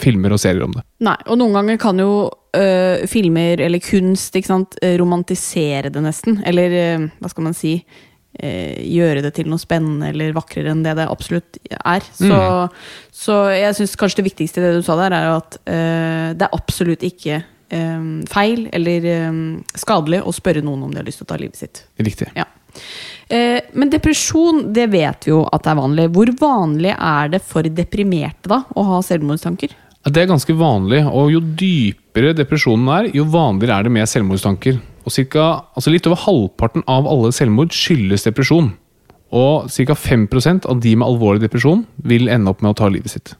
Speaker 1: filmer og serier om det.
Speaker 2: Nei, og noen ganger kan jo øh, filmer eller kunst ikke sant, øh, romantisere det nesten. Eller øh, hva skal man si øh, Gjøre det til noe spennende eller vakrere enn det det absolutt er. Så, så jeg syns kanskje det viktigste i det du sa der, er at øh, det er absolutt ikke øh, feil eller øh, skadelig å spørre noen om de har lyst til å ta livet sitt.
Speaker 1: Riktig.
Speaker 2: Ja. Eh, Men depresjon, det vet vi jo at er vanlig. Hvor vanlig er det for deprimerte da å ha selvmordstanker?
Speaker 1: Ja, Det er ganske vanlig, og jo dypere depresjonen er, jo vanligere er det med selvmordstanker. Og cirka, altså Litt over halvparten av alle selvmord skyldes depresjon. Og ca. 5 av de med alvorlig depresjon vil ende opp med å ta livet sitt.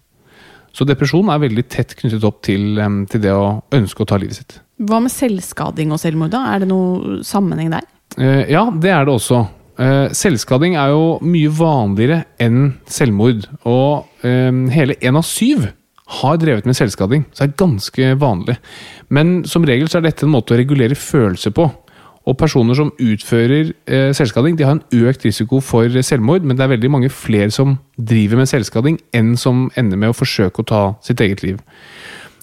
Speaker 1: Så depresjon er veldig tett knyttet opp til, em, til det å ønske å ta livet sitt.
Speaker 2: Hva med selvskading og selvmord? da? Er det noe sammenheng der?
Speaker 1: Eh, ja, det er det også. Eh, selvskading er jo mye vanligere enn selvmord. Og eh, hele én av syv har drevet med selvskading, så det er ganske vanlig. Men som regel så er dette en måte å regulere følelser på. Og personer som utfører eh, selvskading, de har en økt risiko for selvmord, men det er veldig mange flere som driver med selvskading enn som ender med å forsøke å ta sitt eget liv.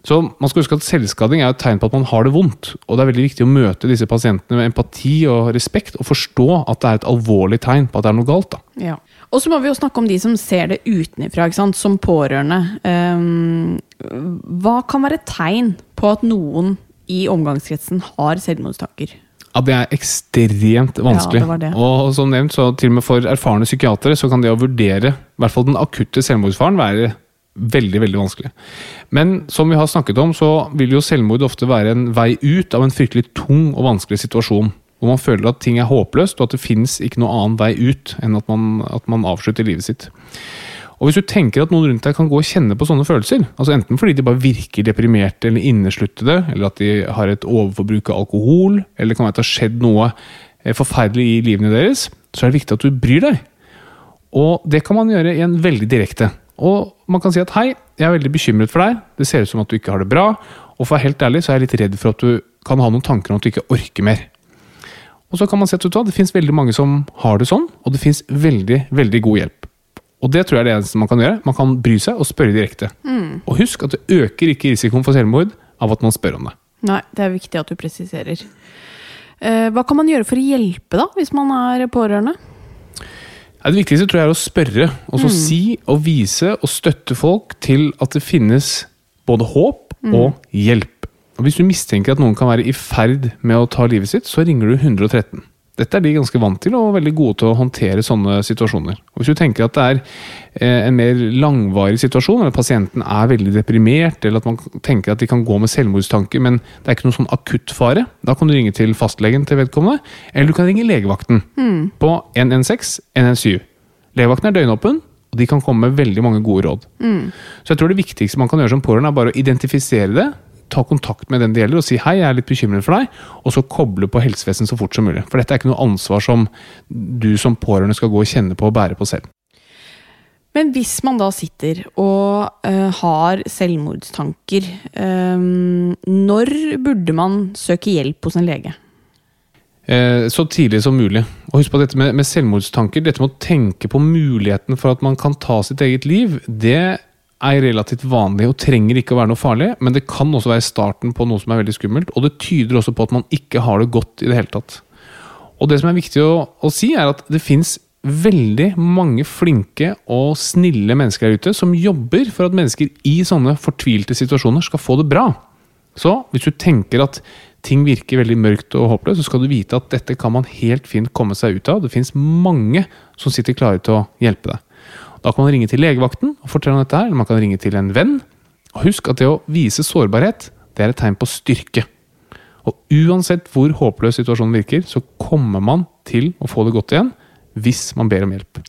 Speaker 1: Så man skal huske at Selvskading er et tegn på at man har det vondt. og Det er veldig viktig å møte disse pasientene med empati og respekt, og forstå at det er et alvorlig tegn på at det er noe galt. da.
Speaker 2: Ja. Og så må vi jo snakke om de som ser det utenfra, ikke sant? som pårørende. Ehm, hva kan være tegn på at noen i omgangskretsen har selvmordstanker?
Speaker 1: Ja, Det er ekstremt vanskelig.
Speaker 2: Ja, det var det.
Speaker 1: Og som nevnt, så til og med for erfarne psykiatere så kan det å vurdere i hvert fall den akutte selvmordsfaren være veldig veldig vanskelig. Men som vi har snakket om, så vil jo selvmord ofte være en vei ut av en fryktelig tung og vanskelig situasjon. Hvor man føler at ting er håpløst, og at det fins ikke noen annen vei ut enn at man, at man avslutter livet sitt. Og hvis du tenker at noen rundt deg kan gå og kjenne på sånne følelser, altså enten fordi de bare virker deprimerte eller innesluttede, eller at de har et overforbruk av alkohol, eller det kan være at det har skjedd noe eh, forferdelig i livene deres, så er det viktig at du bryr deg. Og det kan man gjøre i en veldig direkte. Og man kan si at hei, jeg er veldig bekymret for deg, det ser ut som at du ikke har det bra, og for å være helt ærlig så er jeg litt redd for at du kan ha noen tanker om at du ikke orker mer. Og så kan man si at vet du hva, det finnes veldig mange som har det sånn, og det finnes veldig, veldig god hjelp. Og det tror jeg er det eneste man kan gjøre. Man kan bry seg og spørre direkte. Og husk at det øker ikke risikoen for selvmord av at man spør om det.
Speaker 2: Nei, det er viktig at du presiserer. Eh, Hva kan man gjøre for å hjelpe, da, hvis man er pårørende?
Speaker 1: Nei, Det viktigste tror jeg er å spørre, og så si og vise og støtte folk til at det finnes både håp og hjelp. Og Hvis du mistenker at noen kan være i ferd med å ta livet sitt, så ringer du 113. Dette er de ganske vant til, og veldig gode til å håndtere sånne situasjoner. Og Hvis du tenker at det er eh, en mer langvarig situasjon, eller pasienten er veldig deprimert, eller at man tenker at de kan gå med selvmordstanker, men det er ikke noen sånn akutt fare, da kan du ringe til fastlegen til vedkommende, eller du kan ringe legevakten på 116 117. Legevakten er døgnåpen, og de kan komme med veldig mange gode råd. Så jeg tror det viktigste man kan gjøre som pårørende, er bare å identifisere det, ta kontakt med den det gjelder og si hei, jeg er litt bekymret for deg, og så koble på helsevesenet så fort som mulig. For dette er ikke noe ansvar som du som pårørende skal gå og kjenne på og bære på selv.
Speaker 2: Men hvis man da sitter og eh, har selvmordstanker, eh, når burde man søke hjelp hos en lege?
Speaker 1: Eh, Så tidlig som mulig. Og husk på dette med, med selvmordstanker. Dette med å tenke på muligheten for at man kan ta sitt eget liv, det er relativt vanlig og trenger ikke å være noe farlig, men det kan også være starten på noe som er veldig skummelt, og det tyder også på at man ikke har det godt i det hele tatt. Og det som er viktig å, å si, er at det fins veldig mange flinke og snille mennesker der ute som jobber for at mennesker i sånne fortvilte situasjoner skal få det bra. Så hvis du tenker at ting virker veldig mørkt og håpløst, så skal du vite at dette kan man helt fint komme seg ut av. Det fins mange som sitter klare til å hjelpe deg. Da kan man ringe til legevakten og fortelle om dette her, eller man kan ringe til en venn. Og husk at det å vise sårbarhet, det er et tegn på styrke. Og uansett hvor håpløs situasjonen virker, så kommer man til å få det godt igjen hvis man ber om hjelp.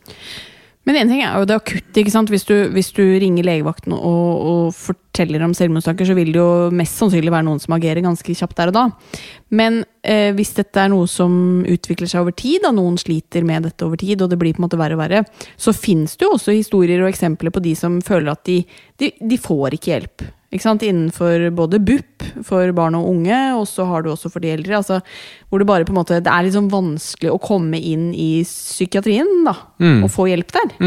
Speaker 2: Men en ting er jo det akutte. ikke sant? Hvis du, hvis du ringer legevakten og, og forteller om selvmordstanker, så vil det jo mest sannsynlig være noen som agerer ganske kjapt der og da. Men eh, hvis dette er noe som utvikler seg over tid, da noen sliter med dette over tid, og det blir på en måte verre og verre, så fins det jo også historier og eksempler på de som føler at de, de, de får ikke hjelp. Ikke sant? Innenfor både BUP for barn og unge, og så har du også for de eldre. Altså, hvor det bare på en måte, det er liksom vanskelig å komme inn i psykiatrien da, og få hjelp der.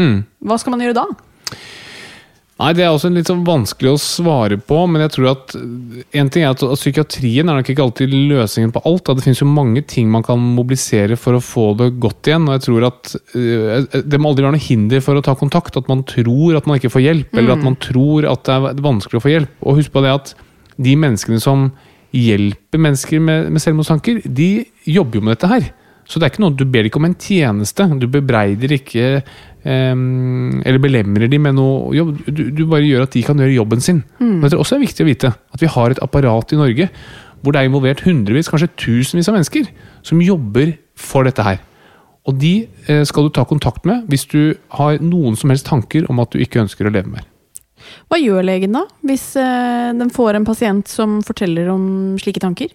Speaker 2: Hva skal man gjøre da?
Speaker 1: Nei, Det er også litt sånn vanskelig å svare på, men jeg tror at eh, en ting er at, at psykiatrien er nok ikke alltid løsningen på alt. da. Det finnes jo mange ting man kan mobilisere for å få det godt igjen. og jeg tror at øh, Det må aldri være noe hinder for å ta kontakt. At man tror at man ikke får hjelp, eller at man tror at det er vanskelig å få hjelp. Og husk på det at de menneskene som hjelper mennesker med, med selvmordstanker, de jobber jo med dette her. Så det er ikke noe, du ber ikke om en tjeneste. Du bebreider ikke ehm, eller belemrer de med noe jobb. Du, du bare gjør at de kan gjøre jobben sin. Men det er også viktig å vite at vi har et apparat i Norge hvor det er involvert hundrevis, kanskje tusenvis av mennesker som jobber for dette her. Og de eh, skal du ta kontakt med hvis du har noen som helst tanker om at du ikke ønsker å leve mer.
Speaker 2: Hva gjør legen da, hvis eh, den får en pasient som forteller om slike tanker?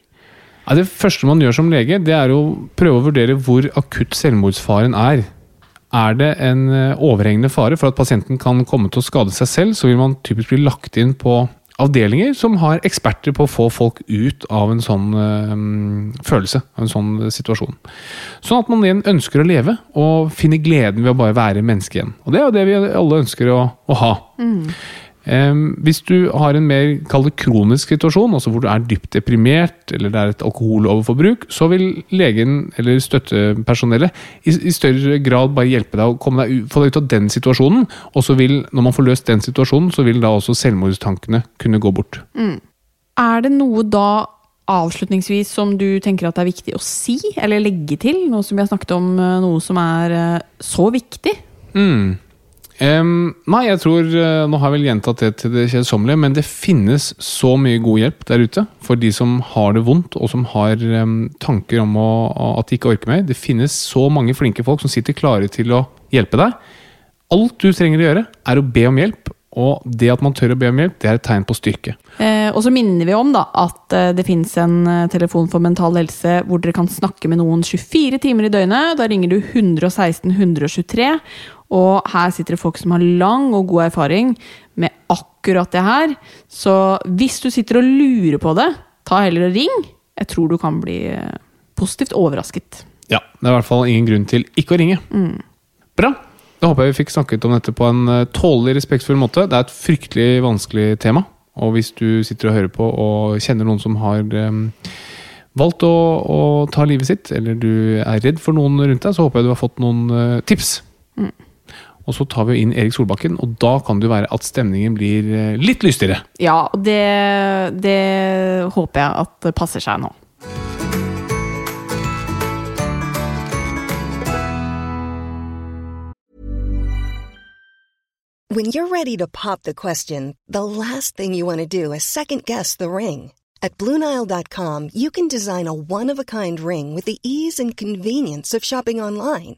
Speaker 1: Ja, det første man gjør som lege, det er å prøve å vurdere hvor akutt selvmordsfaren er. Er det en eh, overhengende fare for at pasienten kan komme til å skade seg selv, så vil man typisk bli lagt inn på avdelinger som har eksperter på å få folk ut av en sånn eh, følelse, av en sånn eh, situasjon. Sånn at man igjen ønsker å leve, og finner gleden ved å bare være menneske igjen. Og det er jo det vi alle ønsker å, å ha. Em, hvis du har en mer kall det kronisk situasjon, altså hvor du er dypt deprimert, eller det er et alkoholoverforbruk, så vil legen eller støttepersonellet i, i større grad bare hjelpe deg å komme deg, u- få deg ut av den situasjonen. Og så vil, når man får løst den situasjonen, så vil da også selvmordstankene kunne gå bort.
Speaker 2: Er det noe da avslutningsvis som du tenker at det er viktig å si eller legge til? Nå som vi har snakket om eh, noe som er eh, så viktig?
Speaker 1: Mm. Em, nei, jeg tror eh, Nå har jeg vel gjentatt det til det kjedsommelige, men det finnes så mye god hjelp der ute for de som har det vondt, og som har em, tanker om å, at de ikke orker mer. Det finnes så mange flinke folk som sitter klare til å hjelpe deg. Alt du trenger å gjøre, er å be om hjelp, og det at man tør å be om hjelp, det er et tegn på styrke.
Speaker 2: Eh, og så minner vi om da, at eh, det finnes en eh, telefon for mental helse hvor dere kan snakke med noen 24 timer i døgnet. Da ringer du 116 123, og her sitter det folk som har lang og god erfaring med akkurat det her. Så hvis du sitter og lurer på det, ta heller og ring. Jeg tror du kan bli eh, positivt overrasket.
Speaker 1: Ja, Det er i hvert fall ingen grunn til ikke å ringe. Bra. Da håper jeg vi fikk snakket om dette på en eh, tålelig, respektfull måte. Det er et fryktelig vanskelig tema. Og hvis du sitter og hører på og kjenner noen som har eh, valgt å, å ta livet sitt, eller du er redd for noen rundt deg, så håper jeg du har fått noen eh, tips. Og så tar vi inn Erik Solbakken, og da kan det jo være at stemningen blir eh, litt lystigere.
Speaker 2: Ja, og det, det håper jeg at det passer seg nå.
Speaker 3: When you're ready to pop the question, the last thing you want to do is second guess the ring. At Bluenile.com, you can design a one of a kind ring with the ease and convenience of shopping online.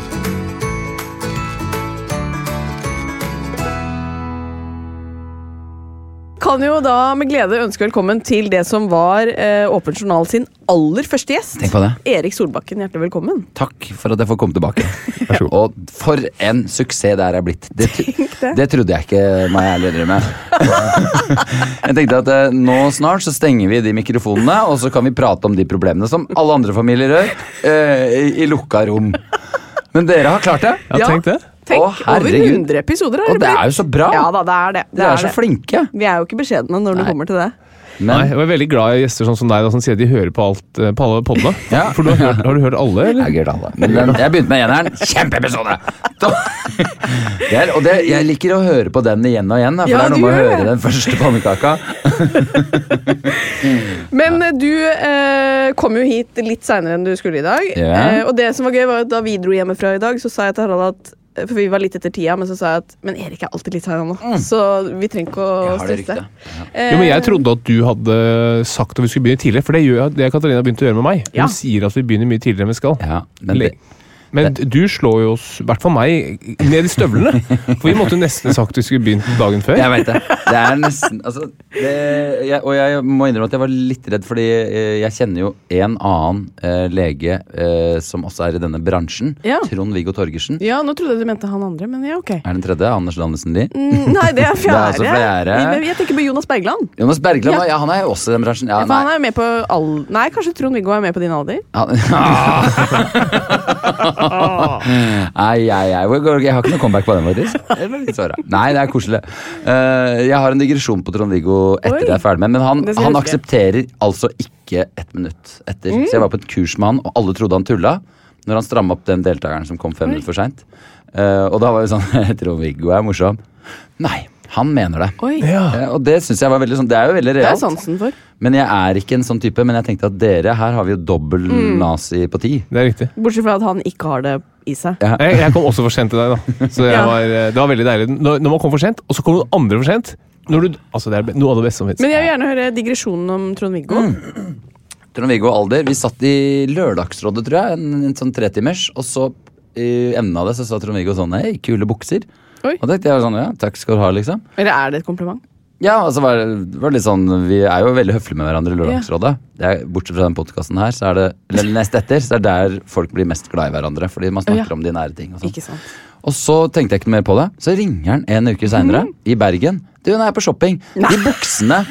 Speaker 2: Kan jo da med glede ønske velkommen til det som var eh, Åpen journal sin aller første gjest.
Speaker 4: Tenk på det.
Speaker 2: Erik Solbakken, hjertelig velkommen.
Speaker 4: Takk for at jeg får komme
Speaker 2: (laughs)
Speaker 4: tilbake. Og for en suksess det her er blitt. Det, tro-
Speaker 2: det.
Speaker 4: det trodde jeg ikke, må jeg ærlig
Speaker 2: (laughs)
Speaker 4: innrømme. jeg tenkte at eh, nå snart så stenger vi de mikrofonene, og så kan vi prate om de problemene som alle andre familier gjør, eh, i, i lukka rom. Men dere har klart det.
Speaker 1: Ja, tenk det.
Speaker 2: Tenk,
Speaker 4: Å,
Speaker 2: over
Speaker 4: herregud.
Speaker 2: 100 episoder har
Speaker 4: Og det
Speaker 2: blitt.
Speaker 4: er jo så bra.
Speaker 2: Ja da, det er det. det,
Speaker 4: Dere
Speaker 2: er
Speaker 4: er så
Speaker 2: det.
Speaker 4: flinke.
Speaker 2: Vi er jo ikke beskjedne når det kommer til det.
Speaker 1: Nei,
Speaker 4: Men
Speaker 1: jeg var veldig glad i gjester sånn som deg, da, som sier de hører på, alt, eh, på alle podene.
Speaker 4: Ja.
Speaker 1: For du har, hørt, har du hørt alle,
Speaker 4: Jeg
Speaker 1: eller?
Speaker 4: har ikke hørt alle. Men den, jeg begynte med eneren. Kjempeepisode! (laughs) Det er- Og det, jeg liker å høre på den igjen og igjen, da, for
Speaker 2: Ja,
Speaker 4: det er noe
Speaker 2: du
Speaker 4: med å
Speaker 2: gjør
Speaker 4: høre
Speaker 2: det.
Speaker 4: den første pannekaka.
Speaker 2: Men eh, du eh, kom jo hit litt seinere enn du skulle i dag. Eh,
Speaker 4: Ja.
Speaker 2: og det som var gøy, var at da vi dro hjemmefra i dag, så sa jeg til Harald at eh, for vi var litt etter tida, men så sa jeg at Men Erik er alltid litt sein nå, så vi trenger ikke å
Speaker 4: Mm. Jeg har det
Speaker 2: stresse. Eh,
Speaker 4: ryktet.
Speaker 1: Jo, men Jeg trodde at du hadde sagt at vi skulle begynne tidligere, for det, gjør, det har Katarina begynt å gjøre med meg. Hun
Speaker 2: Ja.
Speaker 1: sier at vi begynner mye tidligere enn vi skal.
Speaker 4: Ja, men
Speaker 1: Le-
Speaker 4: det,
Speaker 1: Men du slår jo oss, i hvert fall meg, ned i støvlene. For vi måtte jo nesten sagt vi skulle begynt dagen før.
Speaker 4: jeg vet det. Det er nesten altså, det, jeg, Og jeg må innrømme at jeg var litt redd, fordi eh, jeg kjenner jo en annen eh, lege eh, som også er i denne bransjen.
Speaker 2: Ja.
Speaker 4: Trond-Viggo Torgersen.
Speaker 2: Ja, nå trodde jeg du mente han andre, men ja, ok.
Speaker 4: Er den tredje? Anders Landesen Lie?
Speaker 2: Mm, Nei, det er fjerde.
Speaker 4: (laughs) Det er altså fjerde.
Speaker 2: Jeg, jeg tenker på Jonas Bergland.
Speaker 4: Jonas Bergland,
Speaker 2: Ja.
Speaker 4: ja. han er jo også i den bransjen. Ja,
Speaker 2: for han er jo med på all... Nei, kanskje Trond-Viggo er med på din alder?
Speaker 4: Han- Ah. Nei, jeg, jeg, hvor går- jeg har ikke noe comeback på den, faktisk. Det var litt såra. Nei, det er koselig. Eh, jeg har en digresjon på Trond-Viggo etter
Speaker 2: Oi.
Speaker 4: jeg er ferdig med, men han,
Speaker 2: Det skal jeg huske.
Speaker 4: han
Speaker 2: Mm.
Speaker 4: aksepterer altså ikke ett minutt etter. Så jeg var på et kurs med han, og alle trodde han tulla når han stramma opp den deltakeren som kom fem minutter for seint. og da var vi sånn (laughs) Trond-Viggo er morsom. Nei, han mener det.
Speaker 2: Oi,
Speaker 4: Eh, og det synes jeg var veldig sånn Det er jo veldig
Speaker 2: Ah. Det
Speaker 4: realt.
Speaker 2: er sansen for.
Speaker 4: Men jeg er ikke en sånn type, men jeg tenkte at dere, her har vi jo dobbel
Speaker 2: Mm.
Speaker 4: nazi på ti.
Speaker 1: Det er riktig.
Speaker 2: Bortsett fra at han ikke har det i seg.
Speaker 1: Jeg, jeg kom også for sent i dag, da. Så jeg
Speaker 2: Ja.
Speaker 1: var, eh, det var veldig deilig. Når, når man kom for sent, og så kom noen andre for sent når du, altså Det er noe av det beste som fins.
Speaker 2: Men jeg vil gjerne høre digresjonen om Trond-Viggo.
Speaker 4: Mm. Trond-Viggo og Alder, vi satt i Lørdagsrådet, tror jeg, en, en sånn tretimers, og så i enden av det så sa Trond-Viggo sånn Hei, kule bukser.
Speaker 2: Oi.
Speaker 4: Og da tenkte jeg sånn, ja, takk skal du ha, liksom.
Speaker 2: Eller er det et kompliment?
Speaker 4: Ja, og så var det var det litt sånn, Vi er jo veldig høflige med hverandre i Lørdagsrådet. Det er, bortsett fra den podkasten her, så er det eller nest etter, så er det der folk blir mest glad i hverandre. Fordi man snakker
Speaker 2: Ja.
Speaker 4: om de nære ting. Og sånn.
Speaker 2: Ikke sant.
Speaker 4: Og så tenkte jeg ikke noe mer på det. Så ringer han en
Speaker 2: Mhm.
Speaker 4: uke seinere, i Bergen. Du, nå er jeg på shopping. De buksene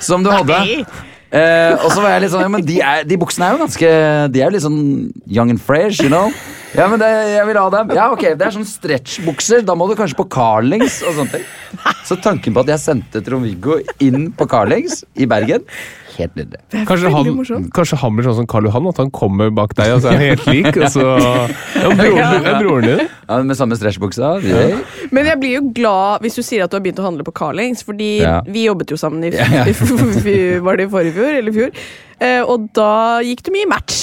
Speaker 4: som du hadde Eh, og så var jeg litt sånn, ja, men de, er, de buksene er jo ganske De er jo litt sånn young and fresh, you know. Ja, men det, jeg vil ha dem. Ja, ok, Det er sånn stretchbukser. Da må du kanskje på Carlings og sånne ting. Så tanken på at jeg sendte Trond-Viggo inn på Carlings i Bergen Helt nydelig.
Speaker 1: Kanskje han, kanskje han blir sånn som Karl Johan, at han kommer bak deg og så er han helt lik. Og
Speaker 4: (laughs)
Speaker 1: så, ja, broren, ja, broren din.
Speaker 4: Ja, Med samme stretchbuksa. yay.
Speaker 2: Men jeg blir jo glad hvis du sier at du har begynt å handle på Carlings, fordi
Speaker 4: Ja.
Speaker 2: vi jobbet jo sammen i
Speaker 4: Ja,
Speaker 2: (laughs)
Speaker 4: ja.
Speaker 2: fj- Var det i forrige fjor? Eller i fjor? Eh, og da gikk det mye match.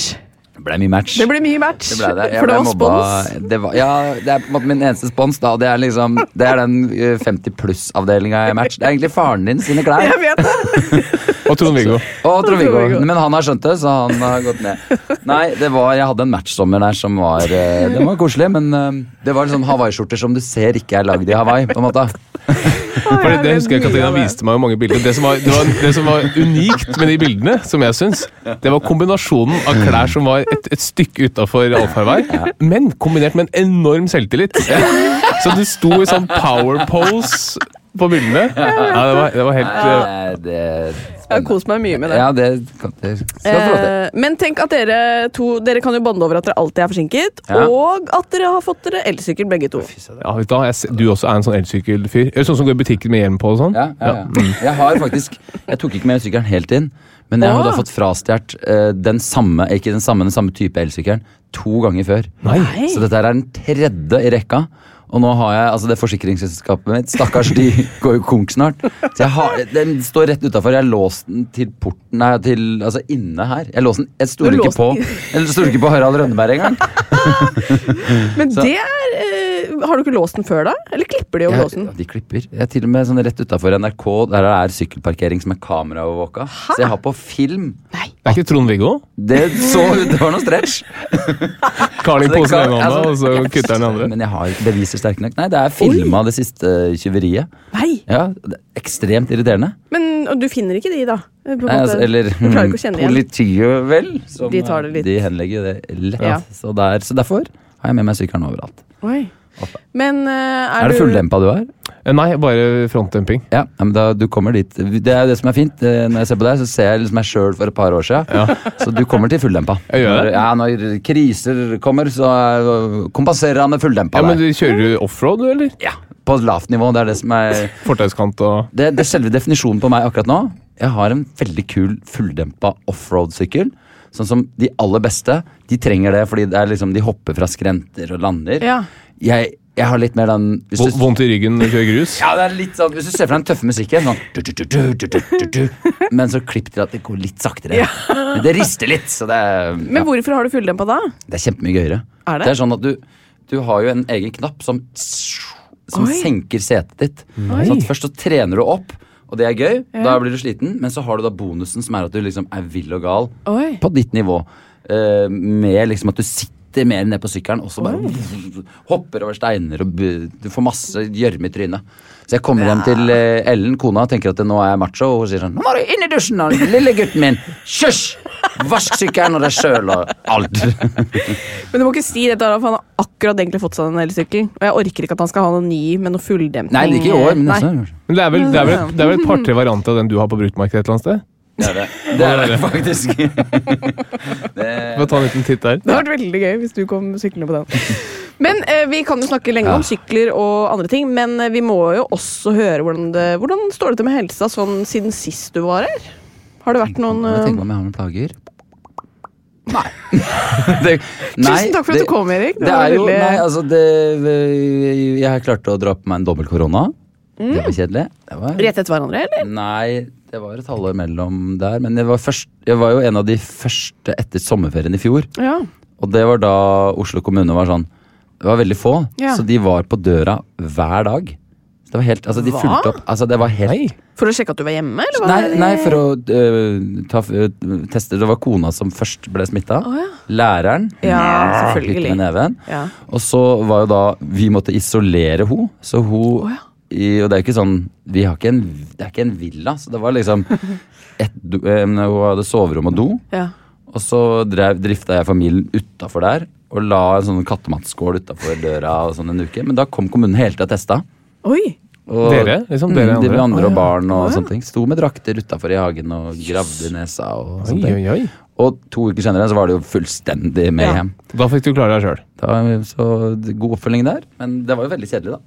Speaker 4: Det ble mye match.
Speaker 2: Det ble mye match.
Speaker 4: Det ble det. Jeg
Speaker 2: For det
Speaker 4: ble
Speaker 2: var
Speaker 4: mobba.
Speaker 2: spons.
Speaker 4: Det var, ja, det er på en måte min eneste spons, da. og Det er liksom, det er den eh, 50 pluss-avdelinga i match. Det er egentlig faren din sine klær.
Speaker 2: Jeg vet det. (laughs)
Speaker 1: Og Trond-Viggo.
Speaker 4: Og Trond-Viggo.
Speaker 2: Trond-Viggo.
Speaker 4: Men han har skjønt det, så han har gått ned. Nei, det var, jeg hadde en matchsommer der som var eh, Den var koselig, men eh, det var liksom hawaiiskjorter som du ser ikke er lagd i Hawaii. på en måte
Speaker 1: For det, det husker jeg Katarina viste meg jo mange bilder. Det som, var, det, var, det som var unikt med de bildene, som jeg syns, det var kombinasjonen av klær som var et, et stykke utafor allfarvei, men kombinert med en enorm selvtillit. Så du sto i sånn power pose på bildene. Ja, det var, det var helt eh,
Speaker 4: Eh, Det,
Speaker 2: Jeg har kost meg mye med det.
Speaker 4: ja, det, kan- det skal du få lov til.
Speaker 2: Eh, men tenk at dere to Dere kan jo bonde over at dere alltid er forsinket,
Speaker 4: Ja.
Speaker 2: og at dere har fått dere elsykkel, begge to.
Speaker 1: ja, vet du, hva, jeg, ser- du også er en sånn elsykkelfyr? Eller Sånn som går i butikken med hjelm på og sånn?
Speaker 4: Ja, ja, ja. Jeg har faktisk Jeg tok ikke med sykkelen helt inn, men jeg har jo da
Speaker 2: Åh.
Speaker 4: fått frastjålet eh, den samme Ikke den samme, den samme type elsykkelen to ganger før.
Speaker 1: Nei.
Speaker 4: Så dette her er den tredje i rekka. Og nå har jeg altså det forsikringsselskapet mitt. Stakkars, de går jo konk snart. Så jeg har, Den står rett utafor. Jeg har låst den til porten Nei, til, altså inne her. Jeg låste den, jeg
Speaker 2: Du
Speaker 4: stoler ikke
Speaker 2: låste
Speaker 4: på
Speaker 2: den
Speaker 4: Jeg stoler ikke på Harald Rønneberg engang.
Speaker 2: (laughs) Men det er eh, Har du ikke låst den før, da? Eller klipper de om
Speaker 4: Jeg,
Speaker 2: låsen?
Speaker 4: ja, de klipper. Jeg er til og med sånn rett utafor NRK, der det er sykkelparkering som er kameraovervåka. Så jeg har på film.
Speaker 1: Det er ikke Trond-Viggo?
Speaker 4: Det så ut, det var noe
Speaker 2: (laughs)
Speaker 4: stretch.
Speaker 1: Karling
Speaker 4: Det
Speaker 1: posen i
Speaker 4: kan-
Speaker 1: ene hånda,
Speaker 4: altså,
Speaker 1: og så kutter han i andre.
Speaker 4: Men jeg har beviser sterke nok. Nei, det er filma det siste tyveriet.
Speaker 2: Nei!
Speaker 4: Ja, det er Ekstremt irriterende.
Speaker 2: Men og du finner ikke de, da? Eh, På en
Speaker 4: Nei,
Speaker 2: måte.
Speaker 4: altså, eller
Speaker 2: du klarer
Speaker 4: (laughs)
Speaker 2: ikke å kjenne igjen?
Speaker 4: politiet, vel. som, eh,
Speaker 2: De tar det litt.
Speaker 4: De henlegger det lett.
Speaker 2: Ja.
Speaker 4: Så, der, så derfor har jeg med meg sykkelen overalt.
Speaker 2: Oi. Men eh, er,
Speaker 4: Er det
Speaker 2: du-
Speaker 4: fulldempa du har?
Speaker 1: Eh, Nei, bare frontdemping.
Speaker 4: Ja, ja, men da, du kommer dit. Det er jo det som er fint. eh, Når jeg ser på deg, så ser jeg liksom meg sjøl for et par år siden. (laughs) Så du kommer til fulldempa.
Speaker 1: Jeg gjør det.
Speaker 4: Ja, når kriser kommer, så eh, kompenserer han med fulldempa.
Speaker 1: Ja, men
Speaker 4: der.
Speaker 1: du Kjører du offroad, du, eller?
Speaker 4: ja, på et lavt nivå. Det er det som er
Speaker 1: Fortauskant og
Speaker 4: det, det er selve definisjonen på meg akkurat nå. Jeg har en veldig kul fulldempa offroad-sykkel. Sånn som de aller beste. De trenger det fordi det er liksom, de hopper fra skrenter og lander.
Speaker 2: Ja.
Speaker 4: Jeg, jeg har litt mer den hvis
Speaker 1: Vo- Vondt i ryggen når du kjører grus?
Speaker 4: (laughs) ja, det er litt sånn, Hvis du ser for deg den tøffe musikken sånn, du, du, du, du, du, du, du, du, Men så klipp til at det går litt saktere. Men det rister litt, så det er,
Speaker 2: Men
Speaker 4: ja,
Speaker 2: hvorfor har du fulldempa da?
Speaker 4: det er kjempemye gøyere.
Speaker 2: Er det?
Speaker 4: er sånn at du, du har jo en egen knapp som, som
Speaker 2: Oi. Mm.
Speaker 4: senker setet ditt. Sånn at først så trener du opp, og det er gøy. Da blir du sliten, men så har du da bonusen som er at du liksom er vill og gal
Speaker 2: Oi.
Speaker 4: på ditt nivå. eh, med liksom at du sitter mer ned på sykkelen og så bare hopper over steiner og bu- du får masse gjørme i trynet. Så jeg kommer hjem til eh, Ellen, kona, og tenker at nå er jeg macho, og hun sier sånn Nå må du inn i dusjen, da, lille gutten min! Kjøsj! Vask sykkelen og deg sjøl og alt.
Speaker 2: Men du må ikke si dette, Araf. Han har akkurat egentlig fått seg den elsykkelen. Og jeg orker ikke at han skal ha noen ny med noe fulldemping.
Speaker 4: Nei, ikke i år, men
Speaker 2: Nei.
Speaker 4: neste år.
Speaker 1: Men det er vel, det er vel, det er vel et par-tre varianter av den du har på bruktmarkedet et eller annet sted?
Speaker 4: Det er det. Det er det (laughs) faktisk.
Speaker 1: Få ta en liten titt der.
Speaker 2: Det hadde vært veldig gøy hvis du kom syklende på den. Men eh, Vi kan jo snakke lenge om sykler og andre ting, men eh, vi må jo også høre hvordan det Hvordan står det til med helsa sånn siden sist du var her? Har det vært noen
Speaker 4: Men
Speaker 2: eh,
Speaker 4: tenk meg om jeg har noen plager. Nei. (laughs) det,
Speaker 2: Tusen takk for at du kom, Erik. Det
Speaker 4: Det,
Speaker 2: var
Speaker 4: er jo,
Speaker 2: veldig-
Speaker 4: nei, altså det, Jeg klarte å dra på meg en dobbel korona. Det var kjedelig. Det var,
Speaker 2: Mm. Rett etter hverandre, eller?
Speaker 4: nei, det var et halvår mellom der. Men jeg var, først, jeg var jo en av de første etter sommerferien i fjor.
Speaker 2: Ja.
Speaker 4: Og det var da Oslo kommune var sånn Det var veldig få,
Speaker 2: Ja.
Speaker 4: så de var på døra hver dag. Så det var helt, altså de
Speaker 2: Hva?
Speaker 4: fulgte opp. Altså det var helt
Speaker 2: For å sjekke at du var hjemme? eller hva?
Speaker 4: Nei, nei, for å øh, ta, øh, teste. Det var kona som først ble smitta. Læreren.
Speaker 2: Ja,
Speaker 4: Fikk
Speaker 2: selvfølgelig.
Speaker 4: med neven.
Speaker 2: Ja.
Speaker 4: Og så var jo da Vi måtte isolere henne. Så hun i, Og det er ikke sånn Vi har ikke en, Det er ikke en villa, så det var
Speaker 2: (laughs)
Speaker 4: liksom et, do- eh, Hun hadde soverom og do.
Speaker 2: Ja.
Speaker 4: Og så drev, drifta jeg familien utafor der. Og la en sånn kattematskål utafor døra og sånn en uke. Men da kom kommunen hele tida og testa.
Speaker 2: Oi!
Speaker 4: Og,
Speaker 1: Dere? Liksom dere
Speaker 4: mm,
Speaker 1: andre?
Speaker 4: de andre
Speaker 1: Å, ja.
Speaker 4: og barn og sånne ting. Sto med drakter utafor i hagen og gravde i nesa og
Speaker 1: Oi,
Speaker 4: sånne ting.
Speaker 1: oi, oi.
Speaker 4: Og to uker senere så var det jo fullstendig med
Speaker 2: Ja.
Speaker 4: hjem.
Speaker 5: Da fikk du klare deg sjøl.
Speaker 4: Da, så det- god oppfølging der. Men det var jo veldig kjedelig, da.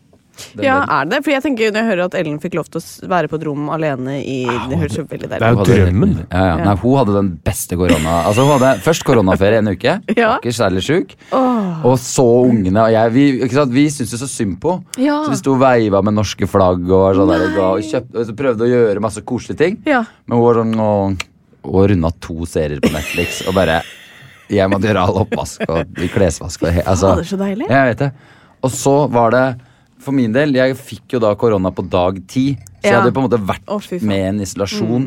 Speaker 4: Den
Speaker 2: Ja,
Speaker 4: delen.
Speaker 2: er det det? Fordi jeg tenker Når jeg hører at Ellen fikk lov til å s- være på et rom alene i Det høres jo veldig
Speaker 1: det er
Speaker 2: deilig ut.
Speaker 4: Hun
Speaker 1: jo
Speaker 4: hadde helt
Speaker 1: drømmen.
Speaker 4: nydelig- Ja, ja. Nei, hun hadde den beste korona. Altså, hun hadde først koronaferie en uke,
Speaker 2: Ja.
Speaker 4: var ikke særlig sjuk. Og så ungene og jeg. Vi, ikke sant? vi syntes jo så synd på henne.
Speaker 2: Ja.
Speaker 4: Så vi sto og veiva med norske flagg og, var sånn der, ga- og, kjøpte, og så prøvde å gjøre masse koselige ting.
Speaker 2: Ja.
Speaker 4: Men hun var sånn og, og runda to serier på Netflix og bare Jeg måtte gjøre all oppvask og klesvask og he- altså,
Speaker 2: Fader, så deilig.
Speaker 4: Jeg vet det. Og så var det for min del, jeg fikk jo da korona på dag ti, så jeg
Speaker 2: Ja.
Speaker 4: hadde på en måte vært
Speaker 2: Å, fy faen. Mm.
Speaker 4: med en isolasjon.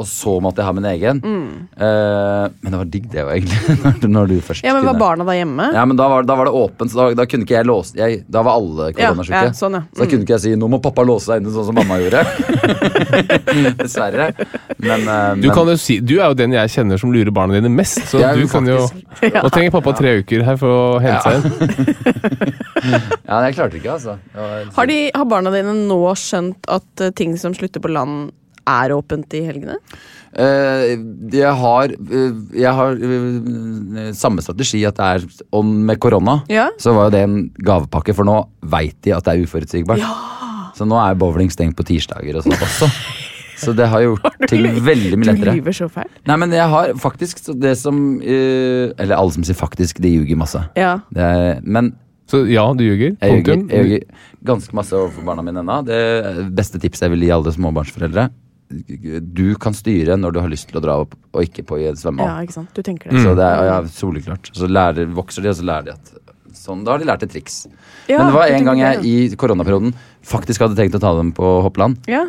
Speaker 4: Og så måtte jeg ha min egen. Eh, men det var digg, det, jo, egentlig. (laughs) når du- Når du først
Speaker 2: Ja, men Var
Speaker 4: kunne.
Speaker 2: barna da hjemme?
Speaker 4: Ja, men da var, da var det åpent, så da, da kunne ikke jeg låse jeg, Da var alle koronasjuke.
Speaker 2: Ja, ja, sånn, ja.
Speaker 4: Så da kunne ikke jeg si 'nå må pappa låse seg inne', sånn som mamma
Speaker 2: (laughs)
Speaker 4: gjorde. Dessverre. Men, eh,
Speaker 1: Du,
Speaker 4: men
Speaker 1: kan jo si, du er jo den jeg kjenner som lurer barna dine mest. Så
Speaker 4: Ja,
Speaker 1: du
Speaker 4: jo,
Speaker 1: kan jo Nå trenger pappa tre uker her for å hente seg inn.
Speaker 4: Ja, jeg klarte ikke, altså. Det var-
Speaker 2: Har, de, har barna dine nå skjønt at eh, ting som slutter på land, er åpent i helgene?
Speaker 4: Eh, jeg har, eh, jeg har eh, samme strategi at det er om med korona.
Speaker 2: Ja.
Speaker 4: Så var jo det en gavepakke, for nå veit de at det er uforutsigbart. Så nå er bowling stengt på tirsdager og sånn også.
Speaker 2: (laughs)
Speaker 4: Så det har gjort ting veldig mye
Speaker 2: Du
Speaker 4: lettere.
Speaker 2: lyver så fælt.
Speaker 4: Nei, men jeg har faktisk så det som eh, Eller alle som sier faktisk, de ljuger masse.
Speaker 2: Ja.
Speaker 4: Det er, men
Speaker 1: Så ja, du ljuger.
Speaker 4: jeg ljuger,
Speaker 1: Punktum.
Speaker 4: jeg ljuger ganske masse overfor barna mine ennå. Det beste tipset jeg vil gi alle småbarnsforeldre Du kan styre når du har lyst til å dra opp, og ikke på i en
Speaker 2: ja,
Speaker 4: svømmehall.
Speaker 2: ikke sant. Du tenker det.
Speaker 4: Så det er ja, soleklart. Så lærer, vokser de, og så lærer de at Sånn, Da har de lært et triks.
Speaker 2: Ja,
Speaker 4: Men det var
Speaker 2: du
Speaker 4: en
Speaker 2: tenker
Speaker 4: gang jeg
Speaker 2: det,
Speaker 4: i koronaperioden faktisk hadde tenkt å ta dem på hoppland,
Speaker 2: Ja.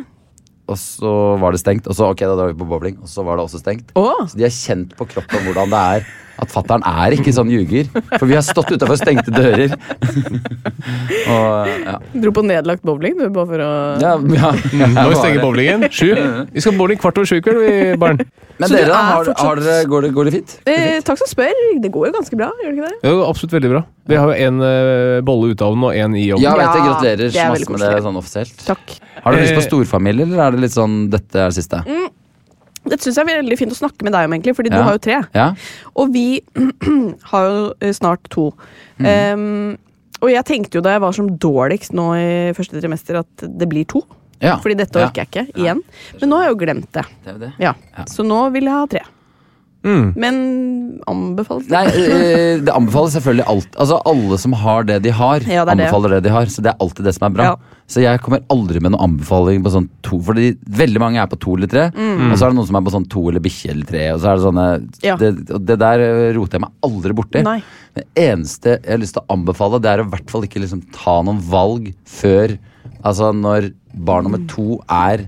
Speaker 4: og så var det stengt. Og så ok, da drar vi på bowling, og så var det også stengt.
Speaker 2: Å!
Speaker 4: Så de har kjent på kroppen hvordan det er at fattern er ikke sånn ljuger. For vi har stått utafor stengte dører. (laughs) Og ja.
Speaker 2: Dro på nedlagt bowling, du, bare for å
Speaker 4: ja, ja, ja
Speaker 1: Nå vi stenger
Speaker 4: bare-
Speaker 1: bowlingen.
Speaker 4: (laughs)
Speaker 1: Sju. Vi skal på bowling kvart over sju i kveld, vi barn.
Speaker 4: Men
Speaker 2: Så du
Speaker 4: dere,
Speaker 2: er
Speaker 4: da? Har, har
Speaker 2: fortsatt-
Speaker 4: dere, går, det, går det fint?
Speaker 2: eh, Takk som spør. Det går jo ganske bra, gjør det ikke det?
Speaker 1: Det var absolutt veldig bra. Vi har jo en eh, bolle ut av den og en i ovnen.
Speaker 4: Ja, vet jeg,
Speaker 2: Ja,
Speaker 4: gratulerer
Speaker 2: det er
Speaker 4: så
Speaker 2: veldig
Speaker 4: masse med det
Speaker 2: koselig.
Speaker 4: sånn offisielt.
Speaker 2: Takk.
Speaker 4: Har dere lyst på
Speaker 1: Eh,
Speaker 4: storfamilie, eller er det litt sånn dette er det siste?
Speaker 2: Dette syns Mm. jeg er veldig fint å snakke med deg om, egentlig, fordi
Speaker 4: Ja.
Speaker 2: du har jo tre.
Speaker 4: Ja?
Speaker 2: Og vi (clears throat) har jo eh, snart to.
Speaker 4: Mhm.
Speaker 2: Ehm, og jeg tenkte jo da jeg var som dårligst nå i første trimester, at det blir to.
Speaker 4: ja.
Speaker 2: Fordi dette
Speaker 4: ja.
Speaker 2: orker jeg ikke igjen. Men nå har jeg jo glemt det.
Speaker 4: Det er jo det.
Speaker 2: Ja.
Speaker 4: Ja.
Speaker 2: Så nå vil jeg ha tre.
Speaker 1: Mm.
Speaker 2: Men anbefales det?
Speaker 4: Nei, eh, det anbefales selvfølgelig alt. Altså Alle som har det de har,
Speaker 2: Ja, det er det.
Speaker 4: anbefaler det. de har. Så det er alltid det som er bra.
Speaker 2: Ja.
Speaker 4: Så jeg kommer aldri med noen anbefaling på sånn to, fordi veldig mange er på to eller tre. Og så er det noen som er på sånn to eller bikkje eller tre. Og så er det sånne
Speaker 2: Mm. Ja.
Speaker 4: det, og det der eh, roter jeg meg aldri borti.
Speaker 2: Nei.
Speaker 4: Det eneste jeg har lyst til å anbefale, det er å i hvert fall ikke liksom ta noen valg før Altså når barn nummer to er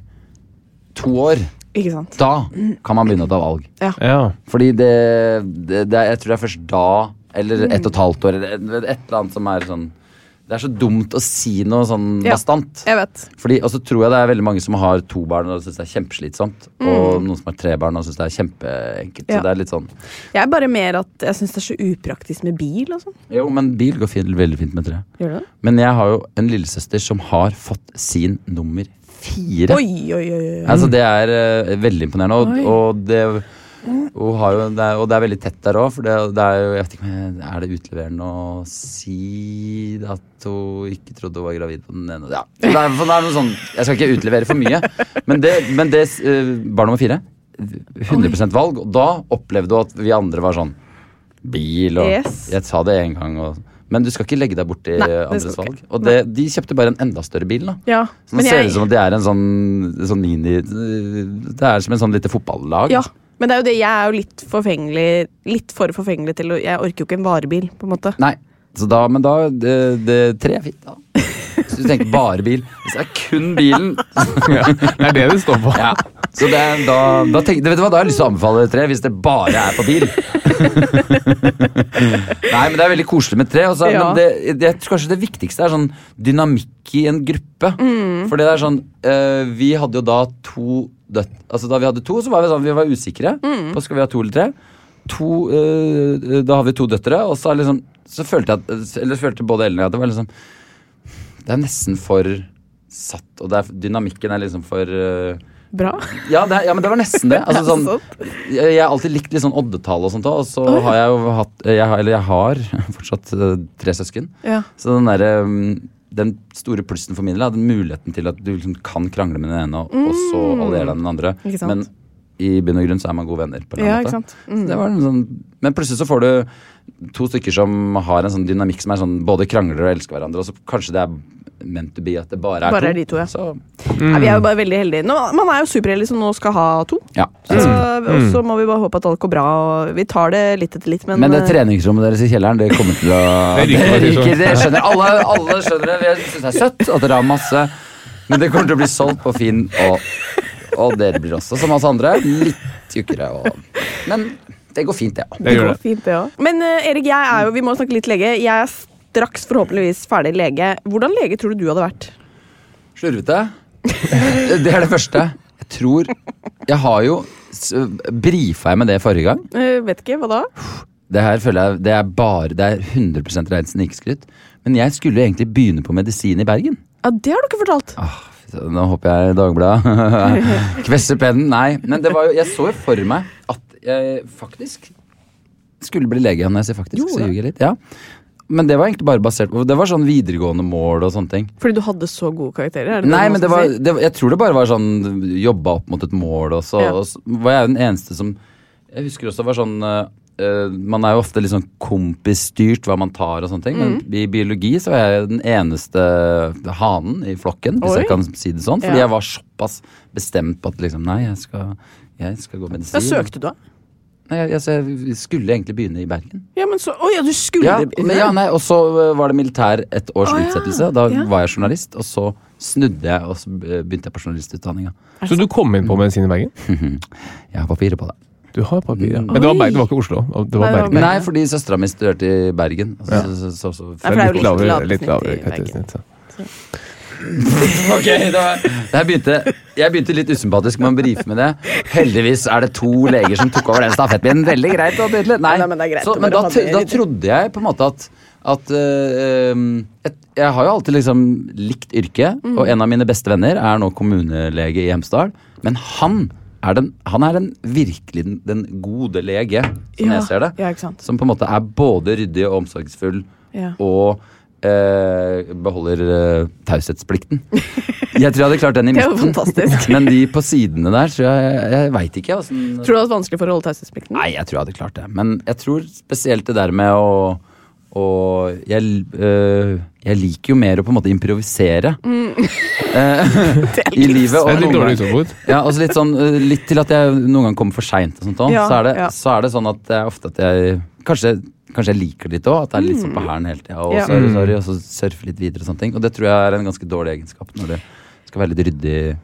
Speaker 4: to år.
Speaker 2: Ikke sant?
Speaker 4: Da kan man begynne å ta valg.
Speaker 1: Ja.
Speaker 4: Fordi det, det, det er- Jeg tror det er først da,
Speaker 2: Mm.
Speaker 4: eller ett og et halvt år, eller et, et eller annet som er sånn Det er så dumt å si noe sånn
Speaker 2: Ja.
Speaker 4: bastant.
Speaker 2: Jeg vet.
Speaker 4: Fordi, Og så tror jeg det er veldig mange som har to barn og syns det er kjempeslitsomt. Og noen som har tre barn og syns det er kjempeenkelt.
Speaker 2: Mm. Ja.
Speaker 4: Så det er litt sånn
Speaker 2: Jeg er bare mer at jeg syns det er så upraktisk med bil og sånn.
Speaker 4: Jo, men bil går fint, veldig fint med tre.
Speaker 2: Gjør du det?
Speaker 4: Men jeg har jo en lillesøster som har fått sin nummer fire.
Speaker 2: Oi, oi, oi. oi.
Speaker 4: Altså, det er eh, veldig imponerende. Og, og, det, hun har jo, det er, og det er veldig tett der òg, for det, det er jo jeg vet ikke, om jeg- Er det utleverende å si at hun ikke trodde hun var gravid på den ene? Ja. Det er, for det er noe sånn, jeg skal ikke utlevere for mye, men det, men det eh, Barn nummer fire 100 valg. Og da opplevde hun at vi andre var sånn Bil og
Speaker 2: Yes.
Speaker 4: Jeg sa det en gang. Og, men du skal ikke legge deg borti
Speaker 2: Nei, det
Speaker 4: andres
Speaker 2: skal du
Speaker 4: valg.
Speaker 2: ikke.
Speaker 4: Og det, de kjøpte bare en enda større bil. da
Speaker 2: Ja.
Speaker 4: så det ser ut som at det er en sånn, sånn mini Det er som en sånn lite fotballag.
Speaker 2: ja. Men det er jo det, jeg er jo litt forfengelig Litt for forfengelig til å Jeg orker jo ikke en varebil, på en måte.
Speaker 4: Nei, så da, men da det, det, Tre er fint, da. Hvis du tenker bare bil. Hvis det er kun bilen
Speaker 1: Det er det det står
Speaker 4: (laughs)
Speaker 1: på.
Speaker 4: ja. Så det er, da, da, tenk, vet du hva, da har jeg lyst til å anbefale tre, hvis det bare er på (laughs) bil. Nei, men det er veldig koselig med tre. Og så,
Speaker 2: Ja.
Speaker 4: Men det, det, jeg tror kanskje det viktigste er sånn dynamikk i en gruppe. For det er sånn eh, Vi hadde jo da to døtt... Altså da vi hadde to, så var vi sånn, vi var usikre på skal vi ha to eller tre. To, eh, da har vi to døtre, og så, er liksom, så følte jeg at, eller følte både Ellen og jeg at det var liksom Det er nesten for satt. Og det er, dynamikken er liksom for eh,
Speaker 2: Bra.
Speaker 4: ja, det, er- ja, men det var nesten det.
Speaker 2: (laughs)
Speaker 4: Altså, sånn, jeg jeg har alltid likt litt sånn oddetall og sånt òg, og så
Speaker 2: Å, ja.
Speaker 4: har jeg jo hatt jeg har, Eller jeg har (laughs) fortsatt eh, tre søsken.
Speaker 2: Ja.
Speaker 4: Så den derre mm, den store plussen for min del er den muligheten til at du liksom kan krangle med den ene, og, og så
Speaker 2: Mm.
Speaker 4: alliere deg med den andre.
Speaker 2: Ikke sant.
Speaker 4: Men i bunn og grunn så er man gode venner. på en eller
Speaker 2: Ja,
Speaker 4: annen
Speaker 2: ikke
Speaker 4: måte.
Speaker 2: sant. Mm.
Speaker 4: Så det var en sånn, men plutselig så får du to stykker som har en sånn dynamikk som er sånn både krangler og elsker hverandre, og så kanskje det er meant to be at det bare er
Speaker 2: Bare er
Speaker 4: to.
Speaker 2: de to, ja.
Speaker 4: Så,
Speaker 2: Nei, vi er jo bare veldig heldige. Nå, man er jo superheldig som nå skal ha to.
Speaker 4: ja.
Speaker 2: Så,
Speaker 4: Mm.
Speaker 2: og så må vi bare håpe at alt går bra. Og vi tar det litt etter litt, men, eh,
Speaker 4: Men det treningsrommet deres i kjelleren, det kommer til å
Speaker 6: (laughs) Det ryker faktisk
Speaker 4: ryker,
Speaker 6: sånn.
Speaker 4: det skjønner jeg. alle, alle skjønner det. Jeg syns det er søtt at dere har masse, men det kommer til å bli solgt på Finn, og, og dere blir også, som oss andre, litt tjukkere. Og, men det går fint, det ja.
Speaker 6: Det gjør
Speaker 2: går
Speaker 6: det.
Speaker 2: fint, det òg. Men eh, Erik, jeg er jo, vi må snakke litt lege. Jeg er straks forhåpentligvis ferdig lege. Hvordan lege tror du du hadde vært?
Speaker 4: Slurvete. Det er det første. Jeg tror Jeg har jo Brifa jeg med det forrige gang?
Speaker 2: Eh, vet ikke, hva da?
Speaker 4: Det her føler jeg Det er bare Det er 100 reint snikskryt. Men jeg skulle jo egentlig begynne på medisin i Bergen.
Speaker 2: Ja, Det har du ikke fortalt.
Speaker 4: Ah. Så Nå håper jeg Dagbladet kvesser pennen. Nei, men det var jo, jeg så jo for meg at jeg faktisk skulle bli lege. Når jeg sier faktisk, så ljuger jeg litt. Ja. Men det var egentlig bare basert på Det var sånn videregående mål og sånne ting.
Speaker 2: Fordi du hadde så gode karakterer? Er det
Speaker 4: Nei,
Speaker 2: man
Speaker 4: men det
Speaker 2: skal
Speaker 4: var,
Speaker 2: si?
Speaker 4: det, var- jeg tror det bare var sånn jobba opp mot et mål, og så,
Speaker 2: Ja.
Speaker 4: og så var jeg den eneste som Jeg husker også det var sånn eh, eh, Man er jo ofte litt sånn kompisstyrt hva man tar og sånne ting, men
Speaker 2: Mhm.
Speaker 4: i biologi så var jeg den eneste hanen i flokken, hvis
Speaker 2: Oi.
Speaker 4: jeg kan si det sånn, fordi
Speaker 2: Ja.
Speaker 4: jeg var såpass bestemt på at liksom Nei, jeg skal, jeg skal gå
Speaker 2: Ja,
Speaker 4: medisin.
Speaker 2: søkte du, da?
Speaker 4: Nei, jeg, jeg, så jeg skulle egentlig begynne i Bergen.
Speaker 2: Ja, men så Å ja, du skulle
Speaker 4: Ja, men ja, nei, og så øh, var det militær et års
Speaker 2: Å, ja.
Speaker 4: utsettelse. Da
Speaker 2: Ja.
Speaker 4: var jeg journalist, og så snudde jeg, og så øh, begynte jeg på journalistutdanninga.
Speaker 1: Så du kom inn på medisin i Bergen?
Speaker 4: Jeg har papirer på det.
Speaker 1: Du har papir, ja. Men det var, Bergen, det var ikke Oslo.
Speaker 2: Mm. Nei,
Speaker 1: Det var
Speaker 2: det var
Speaker 1: Bergen.
Speaker 4: Nei, fordi søstera mi studerte i Bergen. og Så, så, så, så,
Speaker 2: Nei, for det er jo
Speaker 1: Litt
Speaker 2: litt
Speaker 1: lavere,
Speaker 2: lavt
Speaker 1: litt
Speaker 2: snitt
Speaker 1: lavere
Speaker 2: i Bergen.
Speaker 1: karaktersnitt. ja.
Speaker 4: Ok, det var, det her begynte, Jeg begynte litt usympatisk med å brife med det. Heldigvis er det to leger som tok over den stafettpinnen. Veldig greit. Da, Birtle. nei,
Speaker 2: Nei, men det er greit
Speaker 4: så,
Speaker 2: å
Speaker 4: men
Speaker 2: bare
Speaker 4: da,
Speaker 2: ha
Speaker 4: t-
Speaker 2: det
Speaker 4: da
Speaker 2: litt-
Speaker 4: trodde jeg på en måte at at øh, øhm, et, Jeg har jo alltid liksom likt yrket,
Speaker 2: Mm.
Speaker 4: og en av mine beste venner er nå kommunelege i Hemsedal. Men han er den, han er den virkelig den, den gode lege, som
Speaker 2: Ja,
Speaker 4: jeg ser det.
Speaker 2: ja, ikke sant.
Speaker 4: Som på en måte er både ryddig og omsorgsfull,
Speaker 2: Ja.
Speaker 4: og eh, beholder eh, taushetsplikten. Jeg tror jeg hadde klart den
Speaker 2: (laughs)
Speaker 4: i
Speaker 2: Det er jo
Speaker 4: midten.
Speaker 2: fantastisk.
Speaker 4: (laughs)
Speaker 2: Mm.
Speaker 4: Men de på sidene der, tror jeg Jeg veit ikke. Altså.
Speaker 2: Tror du det var vanskelig for å holde taushetsplikten?
Speaker 4: Nei, jeg tror jeg hadde klart det. Men jeg tror spesielt det der med å og jeg, øh, jeg liker jo mer å på en måte improvisere
Speaker 2: Mm. (laughs)
Speaker 4: eh, i livet.
Speaker 6: Det
Speaker 4: Og
Speaker 6: er et litt
Speaker 4: noen
Speaker 6: dårlig
Speaker 4: ganger-
Speaker 6: utgangspunkt.
Speaker 4: ja, og så litt, sånn, øh, litt til at jeg noen gang kommer for seint.
Speaker 2: Ja,
Speaker 4: så, er det-
Speaker 2: ja.
Speaker 4: så er det sånn at jeg ofte at jeg Kanskje, kanskje jeg liker det litt òg. At jeg er litt sånn på hælen hele tida. Og,
Speaker 2: Mm. Ja.
Speaker 1: Mm.
Speaker 4: sorry, sorry, og så surfe litt videre og sånne ting. Og det tror jeg er en ganske dårlig egenskap når det skal være litt ryddig.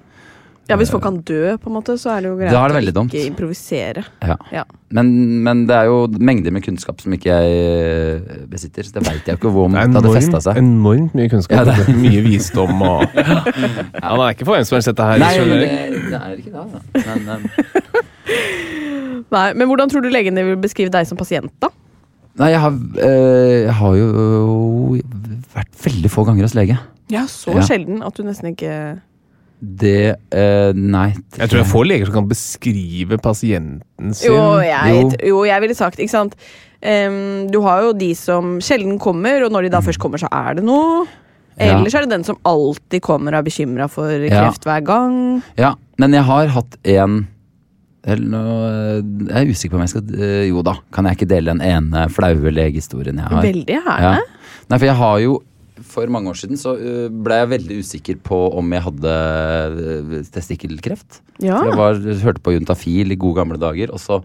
Speaker 2: Ja, Hvis folk kan dø, på en måte, så er det jo greit
Speaker 4: Da er det
Speaker 2: å
Speaker 4: veldig dumt.
Speaker 2: ikke improvisere.
Speaker 4: Ja.
Speaker 2: Ja.
Speaker 4: Men, men det er jo mengder med kunnskap som ikke jeg øh, besitter. Så det veit jeg jo ikke hvor om
Speaker 1: Det
Speaker 4: det
Speaker 1: er
Speaker 4: hadde festa
Speaker 1: enormt,
Speaker 4: seg.
Speaker 1: enormt mye
Speaker 4: Ja,
Speaker 1: kunnskap.
Speaker 4: det er-
Speaker 1: Mye visdom og (laughs) ja, Han er ikke for hvem som helst, dette her.
Speaker 4: Nei,
Speaker 1: skjønner
Speaker 4: det,
Speaker 1: jeg.
Speaker 4: det er ikke det. Da. Men, øhm,
Speaker 2: Nei, Men hvordan tror du legene vil beskrive deg som pasient, da?
Speaker 4: nei, jeg har, øh, jeg har jo vært veldig få ganger hos lege.
Speaker 2: Ja, Så
Speaker 4: Ja.
Speaker 2: sjelden at du nesten ikke
Speaker 4: Det øh, Nei. det
Speaker 1: Jeg tror jeg får leger som kan beskrive pasienten sin.
Speaker 2: Jo, jeg,
Speaker 4: Jo.
Speaker 2: jo, jeg ville sagt, ikke sant Em, Du har jo de som sjelden kommer, og når de da først kommer, så er det noe.
Speaker 4: Ja.
Speaker 2: Eller så er det den som alltid kommer og er bekymra for
Speaker 4: Ja.
Speaker 2: kreft hver gang.
Speaker 4: Ja, men jeg har hatt en eller nå, eh, Jeg er usikker på om jeg skal eh, Jo da, kan jeg ikke dele den ene flaue legehistorien jeg har?
Speaker 2: Veldig
Speaker 4: Ja.
Speaker 2: gjerne.
Speaker 4: Nei, for jeg har jo For mange år siden så eh, ble jeg veldig usikker på om jeg hadde eh, testikkelkreft.
Speaker 2: Ja.
Speaker 4: For Jeg var, hørte på Juntafil i gode gamle dager, og så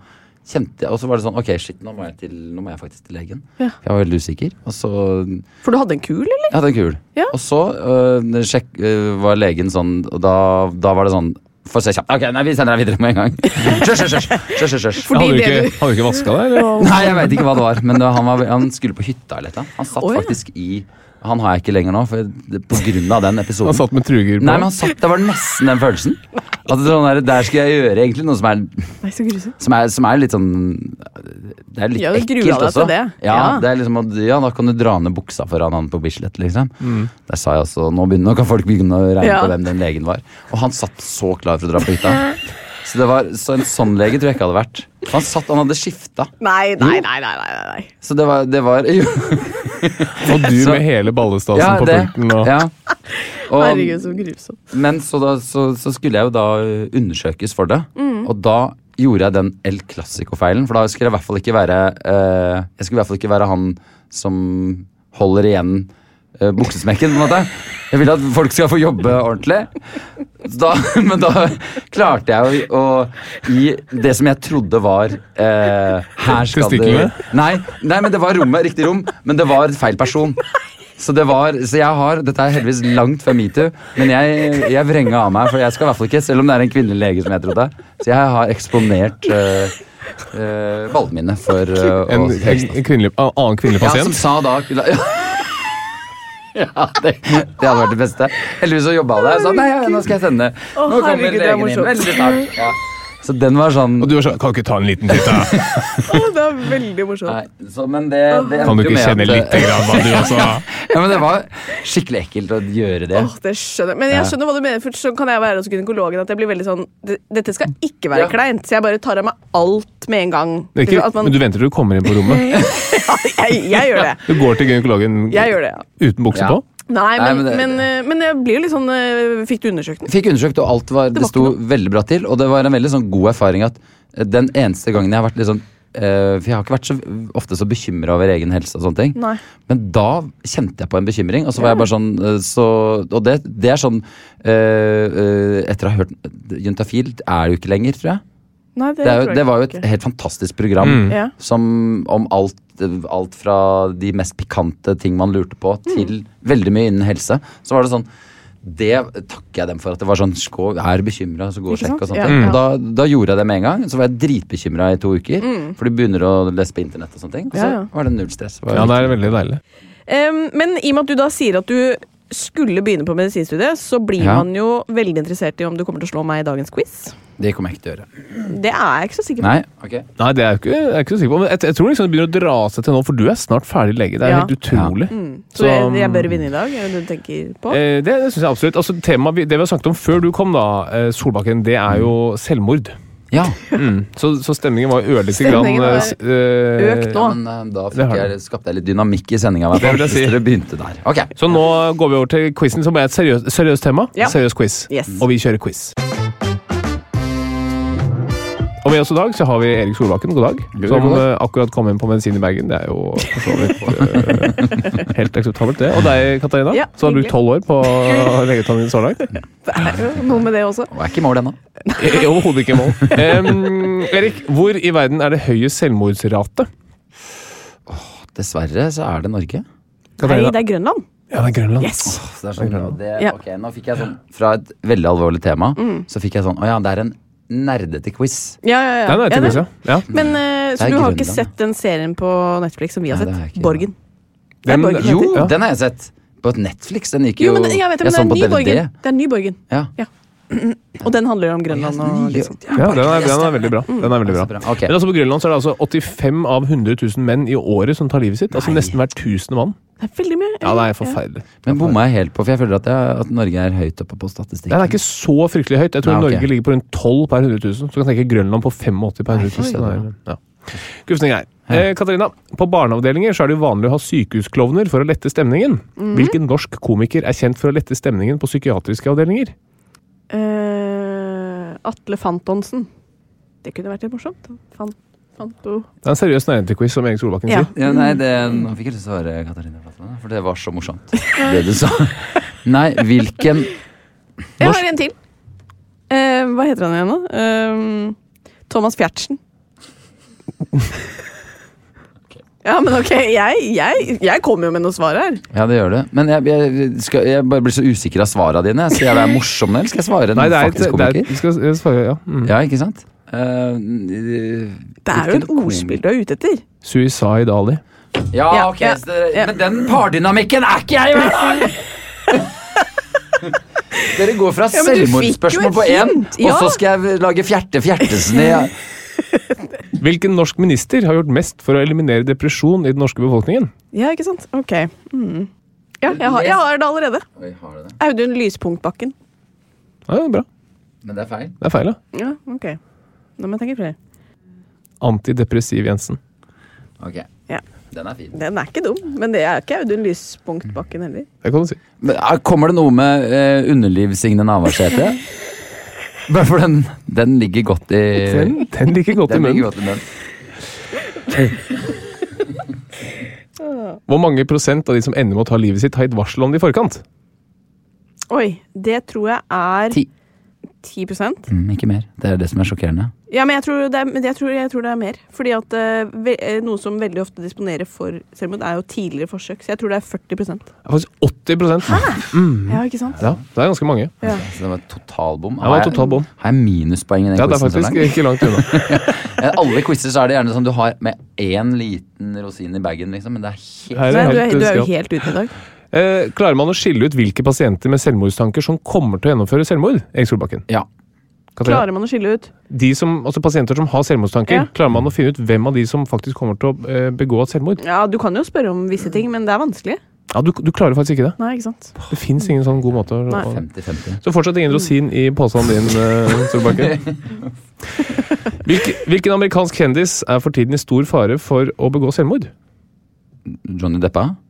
Speaker 4: kjente jeg Og så var det sånn Ok, shit, nå må jeg, til, nå må jeg faktisk til legen.
Speaker 2: Ja.
Speaker 4: For Jeg var veldig usikker. Og så
Speaker 2: For du hadde en kul, eller?
Speaker 4: ja, det er kul.
Speaker 2: Ja.
Speaker 4: Og så øh, sjekk, øh, var legen sånn, og da, da var det sånn Få se kjapt. Ok, nei, vi sender deg videre med en gang.
Speaker 2: (laughs)
Speaker 4: Kjør, kjør, kjør. kjør, kjør, kjør.
Speaker 2: Fordi
Speaker 1: hadde du
Speaker 2: det
Speaker 1: ikke, hadde du ikke vaska deg? Eller?
Speaker 4: Nei, jeg veit ikke hva det var, men det, var- han, var, han skulle på hytta eller noe. Han satt
Speaker 2: Å, ja.
Speaker 4: faktisk i Han har jeg ikke lenger nå, for det- på grunn av den episoden.
Speaker 1: (laughs) Han satt med truger på.
Speaker 4: Nei, men han satt, Det var nesten den følelsen. At det er sånn der, der skal jeg gjøre egentlig noe som er,
Speaker 2: Nei, så grusomt.
Speaker 4: som er, som er litt sånn Det er litt
Speaker 2: Ja, du gruer
Speaker 4: ekkelt
Speaker 2: deg til
Speaker 4: også.
Speaker 2: det.
Speaker 4: Ja,
Speaker 2: Ja.
Speaker 4: det er liksom, at- ja, da kan du dra ned buksa foran han på Bislett, liksom.
Speaker 1: Mm.
Speaker 4: Der sa jeg også nå, begynner, nå kan folk begynne å regne
Speaker 2: Ja.
Speaker 4: på hvem den legen var. Og han satt så klar for å dra på hytta. Så, det var, så en sånn lege tror jeg ikke hadde vært. Han satt, han hadde skifta.
Speaker 2: Nei, nei, nei, nei, nei, nei, nei.
Speaker 4: Så det var, det var (laughs) jo,
Speaker 1: Og du
Speaker 4: Så-
Speaker 1: med hele ballestasen
Speaker 4: Ja,
Speaker 1: på
Speaker 4: det-
Speaker 1: pulten. Og,
Speaker 4: ja.
Speaker 2: (laughs)
Speaker 4: Og,
Speaker 2: Herregud, så grusomt.
Speaker 4: men så, da, så, så skulle jeg jo da ø, undersøkes for det. Og da gjorde jeg den El Clásico-feilen, for da skulle jeg i hvert fall ikke være eh, Jeg skulle i hvert fall ikke være han som holder igjen eh, buksesmekken, på en måte. Jeg vil at folk skal få jobbe ordentlig. Så Da, (laughs) men da klarte jeg å, å gi det som jeg trodde var eh, Her skal du
Speaker 1: Testiklene?
Speaker 4: nei, nei, men det var rommet, riktig rom, men det var feil person. Så, det var, så jeg har, Dette er heldigvis langt fra metoo, men jeg, jeg vrenga av meg. For jeg skal i hvert fall ikke, selv om det er en kvinnelig lege som jeg trodde. Så jeg har eksponert øh, øh, ballene mine for øh,
Speaker 1: en,
Speaker 4: å
Speaker 1: en, en kvinnelig, en annen kvinnelig
Speaker 4: Ja, som
Speaker 1: pasient.
Speaker 4: sa da (laughs) ja. Ja, det, det hadde vært det beste. Heldigvis så jobba jeg der. Så nei, ja, nå skal jeg sende.
Speaker 2: Å,
Speaker 4: Nå kommer
Speaker 2: herregud, det er
Speaker 4: legen inn
Speaker 2: morsomt.
Speaker 4: veldig snart. Ja. Så den var sånn
Speaker 1: og du var sånn Kan du ikke ta en liten (laughs) titt, da?
Speaker 2: Å, det er veldig morsomt.
Speaker 4: Nei, så, men det, det
Speaker 1: Kan du
Speaker 4: endte jo
Speaker 1: ikke
Speaker 4: med
Speaker 1: kjenne
Speaker 4: at-
Speaker 1: lite grann hva du
Speaker 4: (laughs)
Speaker 1: også
Speaker 4: Ja, men Det var skikkelig ekkelt å gjøre det.
Speaker 2: Åh, det skjønner jeg. Men jeg
Speaker 4: Ja.
Speaker 2: skjønner hva du mener, for sånn kan jeg være hos gynekologen. At jeg blir veldig sånn "Det- Dette skal ikke være
Speaker 4: Ja.
Speaker 2: kleint, så jeg bare tar av meg alt med en gang.
Speaker 1: Det er ikke,
Speaker 2: At man-
Speaker 1: Men
Speaker 2: (laughs)
Speaker 1: du venter til du kommer inn på rommet.
Speaker 2: jeg, jeg gjør det.
Speaker 1: Du går til gynekologen
Speaker 2: Jeg gjør det, ja.
Speaker 1: uten bukse
Speaker 4: Ja.
Speaker 1: på.
Speaker 2: Nei,
Speaker 4: Nei,
Speaker 2: men,
Speaker 4: men det-
Speaker 2: men, eh, men jeg blir jo litt sånn eh, Fikk du undersøkt den?
Speaker 4: Fikk undersøkt, og alt var, det,
Speaker 2: var
Speaker 4: sto
Speaker 2: ikke
Speaker 4: veldig bra til. Og det var en veldig sånn god erfaring at eh, den eneste gangen jeg har vært litt sånn eh, For jeg har ikke vært så ofte så bekymra over egen helse og sånne ting.
Speaker 2: Nei.
Speaker 4: Men da kjente jeg på en bekymring, og så var jeg bare sånn eh, så, Og det, det er sånn eh, eh, Etter å ha hørt Juntafil er det jo ikke lenger, tror jeg.
Speaker 2: Nei, det,
Speaker 4: Det, er,
Speaker 2: tror
Speaker 4: jo-
Speaker 2: jeg
Speaker 4: det var jo
Speaker 2: ikke.
Speaker 4: et helt fantastisk program
Speaker 2: Ja.
Speaker 4: som om alt, alt fra de mest pikante ting man lurte på,
Speaker 2: Mm.
Speaker 4: til veldig mye innen helse. Så var det sånn det takker jeg dem for. At det var sånn Skå, er bekymra, så gå og
Speaker 2: Ikke
Speaker 4: sjekk. og
Speaker 2: sant?
Speaker 4: sånt.
Speaker 2: Ja,
Speaker 4: ting.
Speaker 2: ja.
Speaker 4: Og da, da gjorde jeg det med en gang. Så var jeg dritbekymra i to uker. For du begynner å lese på internett og sånne ting. Og så
Speaker 2: Mm. Ja, ja.
Speaker 4: var det null stress. Det var
Speaker 1: Ja, det
Speaker 4: riktig.
Speaker 1: er veldig deilig.
Speaker 2: Em, men i og med at du da sier at du skulle begynne på medisinstudiet, så blir
Speaker 4: Ja.
Speaker 2: man jo veldig interessert i om du kommer til å slå meg i dagens quiz.
Speaker 4: det kommer jeg ikke til å gjøre.
Speaker 2: Det er jeg ikke så sikker på.
Speaker 4: Nei, ok.
Speaker 1: Nei, det er jeg ikke, jeg er ikke så sikker på. Men jeg, jeg tror liksom det begynner å dra seg til nå, for du er snart ferdig lege. Det er
Speaker 2: Ja. Mm.
Speaker 1: helt utrolig.
Speaker 2: Så jeg, jeg bør vinne i dag, er det du tenker på?
Speaker 1: Eh, det det syns jeg absolutt. Altså, temaet vi, det vi har snakket om før du kom, da, eh, Solbakken, det er jo selvmord.
Speaker 4: Ja,
Speaker 1: Så, så stemningen var ørlite grann
Speaker 2: Stemningen
Speaker 1: eh,
Speaker 2: var
Speaker 1: s- eh,
Speaker 2: økt
Speaker 4: ja
Speaker 2: nå.
Speaker 4: (laughs) men eh, da
Speaker 1: Det
Speaker 4: fikk
Speaker 1: har
Speaker 4: jeg, skapte jeg litt dynamikk i sendinga.
Speaker 1: (laughs) Det vil jeg si.
Speaker 4: Hvis dere begynte der. Ok.
Speaker 1: Så nå går vi over til quizen, som er et seriøst seriøst tema.
Speaker 2: Ja.
Speaker 1: Seriøs quiz.
Speaker 2: Yes.
Speaker 1: Og vi kjører quiz. Og med oss i dag så har vi Erik Solbakken, god dag.
Speaker 4: God
Speaker 1: som
Speaker 4: dag.
Speaker 1: eh, akkurat kom inn på medisin i Bergen. Det er jo for så vidt eh, (laughs) helt akseptabelt, det. Og deg, Katarina,
Speaker 2: Ja,
Speaker 1: som har
Speaker 2: hyggelig.
Speaker 1: brukt tolv år på legeutdanningen så
Speaker 2: (laughs)
Speaker 1: langt.
Speaker 2: Det (laughs) er jo noe med det også.
Speaker 4: Og jeg er ikke i mål ennå.
Speaker 1: Eh, Overhodet ikke i mål. Em, Erik, hvor i verden er det høyest selvmordsrate?
Speaker 4: Dessverre så er det Norge.
Speaker 2: Nei, det er Grønland.
Speaker 1: Ja, det er Grønland.
Speaker 2: Yes!
Speaker 4: Så det er sånn, og det,
Speaker 2: Ja. Mm.
Speaker 4: ok, nå fikk jeg sånn Fra et veldig alvorlig tema, så fikk jeg sånn Å ja, det er en nerdete quiz.
Speaker 2: Ja, ja, ja.
Speaker 1: Den er
Speaker 2: Ja,
Speaker 1: tydeligvis, ja.
Speaker 2: det-
Speaker 1: ja.
Speaker 2: Men, eh,
Speaker 4: Det
Speaker 2: så
Speaker 4: er
Speaker 2: du har
Speaker 4: Grønland,
Speaker 2: ikke
Speaker 4: ja.
Speaker 2: sett den serien på Netflix som vi har
Speaker 4: Nei,
Speaker 2: sett?
Speaker 4: det har jeg ikke.
Speaker 2: Borgen.
Speaker 1: Den-
Speaker 2: Borgen
Speaker 4: Jo,
Speaker 2: heter-
Speaker 1: Ja.
Speaker 4: den har jeg sett! På Netflix. Den gikk jo
Speaker 2: Jo, men jeg vet det, men det
Speaker 4: så
Speaker 2: er en ny
Speaker 4: den på DVD.
Speaker 2: Borgen. Det er en ny Borgen.
Speaker 4: Ja.
Speaker 2: Ja. (clears throat) Og den handler om Grønland og
Speaker 4: Ja,
Speaker 2: liksom.
Speaker 1: Ja, den er, den er veldig bra. Den er veldig
Speaker 4: Så
Speaker 1: bra.
Speaker 4: bra. Ok.
Speaker 1: Men altså på Grønland så er det altså 85 av 100 000 menn i året som tar livet sitt. Altså nesten hver tusende mann.
Speaker 2: Det er veldig mye.
Speaker 1: Ja, det er forferdelig.
Speaker 4: Men bomma jeg helt på, for jeg føler at, jeg, at Norge er høyt oppe på
Speaker 1: Det er
Speaker 4: statistikken.
Speaker 1: ikke så fryktelig høyt. Jeg tror
Speaker 4: Nei, ok.
Speaker 1: Norge ligger på rundt 12 per 100 000. Så kan jeg tenke Grønland på 85 per 100 000.
Speaker 4: Oi,
Speaker 1: Det er- Ja. Gufsning her. Eh, Katarina, på barneavdelinger så er det jo vanlig å ha sykehusklovner for å lette stemningen. Hvilken norsk komiker er kjent for å lette stemningen på psykiatriske avdelinger?
Speaker 2: Eh, Atle Fantonsen. Det kunne vært litt morsomt. Fan, fanto.
Speaker 1: Det er en seriøs nærhetsquiz, som Erik Solbakken
Speaker 2: Ja.
Speaker 1: sier.
Speaker 4: Ja, nei, det, nå fikk jeg lyst til å svare Katarina Flatland, for det var så
Speaker 2: (laughs)
Speaker 4: morsomt, det du sa. Nei, hvilken
Speaker 2: Jeg
Speaker 4: Norsk-
Speaker 2: har en til. Eh, hva heter han igjen, da? Ehm, Thomas (laughs) Fjertsen. Ja, men ok, jeg, jeg, jeg kommer jo med noe svar her.
Speaker 4: Ja, det gjør det. Men jeg, jeg, skal, jeg bare blir så usikker av svara dine. Skal jeg være morsom, eller skal jeg svare en
Speaker 1: Nei, det er, et-
Speaker 4: faktisk
Speaker 1: det er,
Speaker 4: komiker?
Speaker 1: vi skal jeg svare, ja. Mm.
Speaker 4: Ja, ikke sant? Eh, n-
Speaker 2: Det er jo
Speaker 4: hvilken
Speaker 2: et ordspill du er ute etter.
Speaker 1: Suicide Ali.
Speaker 4: Ja,
Speaker 2: Ja,
Speaker 4: ok,
Speaker 2: ja,
Speaker 4: så dere-
Speaker 2: ja.
Speaker 4: Men den pardynamikken er ikke jeg hver
Speaker 2: (laughs)
Speaker 4: dag! Dere går fra
Speaker 2: Ja, men du fikk
Speaker 4: selvmordsspørsmål
Speaker 2: jo
Speaker 4: på
Speaker 2: et
Speaker 4: én,
Speaker 2: hint,
Speaker 4: og
Speaker 2: ja.
Speaker 4: så skal jeg lage Fjerte
Speaker 2: (laughs)
Speaker 4: Fjertesen i
Speaker 1: Hvilken norsk minister har gjort mest for å eliminere depresjon i den norske befolkningen?
Speaker 2: Ja, ikke sant? Ok. Mm. Ja, jeg har, jeg har det allerede.
Speaker 4: Oi, har du det?
Speaker 2: Audun Lyspunktbakken.
Speaker 1: Ja, det er bra.
Speaker 4: Men det er feil.
Speaker 1: Det er feil, ja.
Speaker 2: Ja, ok. Nå må jeg tenke flere.
Speaker 1: Antidepressiv Jensen.
Speaker 4: Ok,
Speaker 2: Ja.
Speaker 4: den er fin.
Speaker 2: Den er ikke dum, men det er ikke Audun Lyspunktbakken heller.
Speaker 1: Det kan du si.
Speaker 4: Men, eh, kommer det noe med eh, underliv Signe Navarsete?
Speaker 2: (laughs)
Speaker 4: Bare for den, den ligger godt i
Speaker 1: Den, den liker godt i
Speaker 4: Eh, den ligger
Speaker 1: munnen.
Speaker 4: godt i munnen.
Speaker 1: Hvor mange prosent av de som ender med å ta livet sitt, har gitt varsel om det i forkant?
Speaker 2: Oi, det tror jeg er
Speaker 4: Ti.
Speaker 2: 10 prosent.
Speaker 4: Mm, ikke mer. Det er det som er sjokkerende.
Speaker 2: Ja, men jeg tror det er, men jeg tror, jeg tror det er mer. Fordi at eh, ve eh, noe som veldig ofte disponerer for selvmord, er jo tidligere forsøk. Så jeg tror det er 40 prosent.
Speaker 1: Det er faktisk 80 prosent.
Speaker 2: Ja, ikke sant?
Speaker 1: Mm. Ja, det er ganske mange.
Speaker 2: Ja.
Speaker 4: Så det var totalbom.
Speaker 1: Det var totalbom.
Speaker 4: Har jeg minuspoeng i den
Speaker 1: Ja, det er
Speaker 4: quizen så (laughs)
Speaker 1: faktisk
Speaker 4: langt?
Speaker 1: ikke langt unna.
Speaker 4: Eh, Alle quizer så er det gjerne sånn du har med én liten rosin i bagen, liksom, men det er helt
Speaker 1: Her
Speaker 2: Nei, du, er,
Speaker 1: helt
Speaker 2: du er jo
Speaker 1: skralt.
Speaker 2: helt ute i dag.
Speaker 1: Eh, Klarer man å skille ut hvilke pasienter med selvmordstanker som kommer til å gjennomføre selvmord? Erik Solbakken.
Speaker 4: Ja.
Speaker 1: Katarina.
Speaker 2: Klarer man å skille ut?
Speaker 1: De som, altså Pasienter som har selvmordstanker,
Speaker 2: Ja.
Speaker 1: klarer man å finne ut hvem av de som faktisk kommer til å eh, begå et selvmord?
Speaker 2: Ja, du kan jo spørre om visse ting, men det er vanskelig.
Speaker 1: Ja, du, du klarer faktisk ikke det.
Speaker 2: Nei, ikke sant?
Speaker 1: Det fins ingen sånn god måte å-
Speaker 2: Nei.
Speaker 1: å
Speaker 4: 50-50.
Speaker 1: Så fortsatt ingen rosin i påstanden din, eh,
Speaker 2: (laughs)
Speaker 1: Solbakken. Hvilke, hvilken amerikansk kjendis er for tiden i stor fare for å begå selvmord?
Speaker 4: Johnny Deppa?
Speaker 1: Ja,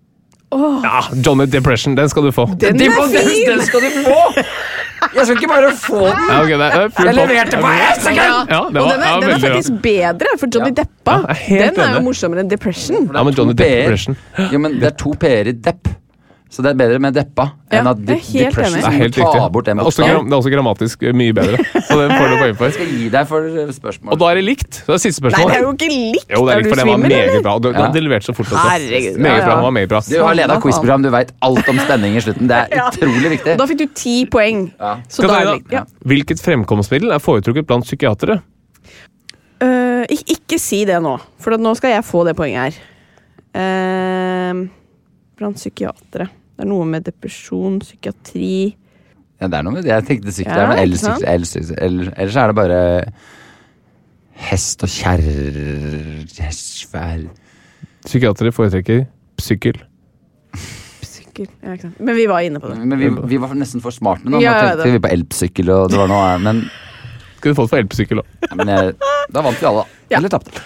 Speaker 2: Ah.
Speaker 1: Johnny Depression, den skal du få.
Speaker 4: Den, den, den skal du få! Jeg skal ikke bare få den!
Speaker 1: Ja, ok, det er full
Speaker 4: Jeg
Speaker 1: pott.
Speaker 4: leverte på ett sekund!
Speaker 1: Ja, det
Speaker 2: Og
Speaker 1: var,
Speaker 2: den er,
Speaker 1: ja,
Speaker 2: den er
Speaker 1: veldig bra.
Speaker 2: faktisk bedre, for Johnny Deppa
Speaker 1: Ja, jeg er helt
Speaker 2: Den er jo
Speaker 1: enig.
Speaker 2: morsommere enn Depression.
Speaker 1: Ja, men Johnny
Speaker 4: To P-er.
Speaker 1: Depression.
Speaker 4: Jo, men det er to p-er i depp. Så det er bedre med deppa
Speaker 2: Ja,
Speaker 4: enn at de
Speaker 2: jeg er helt
Speaker 4: depression
Speaker 2: enig.
Speaker 1: Det er helt
Speaker 4: Ta
Speaker 1: riktig.
Speaker 4: bort
Speaker 1: Det
Speaker 4: den
Speaker 1: er også, gram-
Speaker 4: bokstaven.
Speaker 1: det er også grammatisk eh, mye bedre, så den får du poeng
Speaker 4: Jeg
Speaker 1: for.
Speaker 4: skal gi deg for eh, spørsmål.
Speaker 1: Og da er det likt. Så det er siste
Speaker 2: Nei, det er jo
Speaker 1: spørsmål.
Speaker 2: ikke likt!
Speaker 1: Jo, det er likt, for den var meget bra. og Du,
Speaker 4: Ja.
Speaker 1: den leverte så fort også.
Speaker 2: Herregud, ja,
Speaker 1: Meget bra,
Speaker 2: ja.
Speaker 1: den var meget bra.
Speaker 4: Du har leda quizprogram, du veit alt om spenning i slutten.
Speaker 1: (laughs)
Speaker 4: Det er
Speaker 2: Ja.
Speaker 4: utrolig viktig.
Speaker 2: Da fikk du ti poeng.
Speaker 4: Ja.
Speaker 2: Så da er det
Speaker 1: Katarina,
Speaker 2: likt. Ja.
Speaker 1: Hvilket fremkomstmiddel er foretrukket blant psykiatere?
Speaker 2: Eh, ik ikke si det nå, for at nå skal jeg få det poenget her. Eh, blant psykiatere. Det er noe med depresjon, psykiatri
Speaker 4: Ja, det er noe med det. Jeg tenkte sikkert
Speaker 2: Ja,
Speaker 4: det, men
Speaker 2: ikke
Speaker 4: ellers,
Speaker 2: sant?
Speaker 4: ellers, ellers, ellers, ellers er det bare hest og kjerr svær
Speaker 1: Psykiatere foretrekker psykel.
Speaker 2: psyker, ja, ikke sant? Men vi var inne på det.
Speaker 4: Men vi, vi var nesten for smarte nå. Nå
Speaker 2: Ja, jeg
Speaker 4: tenkte
Speaker 2: vet det.
Speaker 4: vi på elpsykkel og det var noe annet. Men,
Speaker 1: Skal du få det for elpsykel òg?
Speaker 4: ja, men jeg, da vant vi alle, da.
Speaker 2: Ja.
Speaker 4: Eller tapte.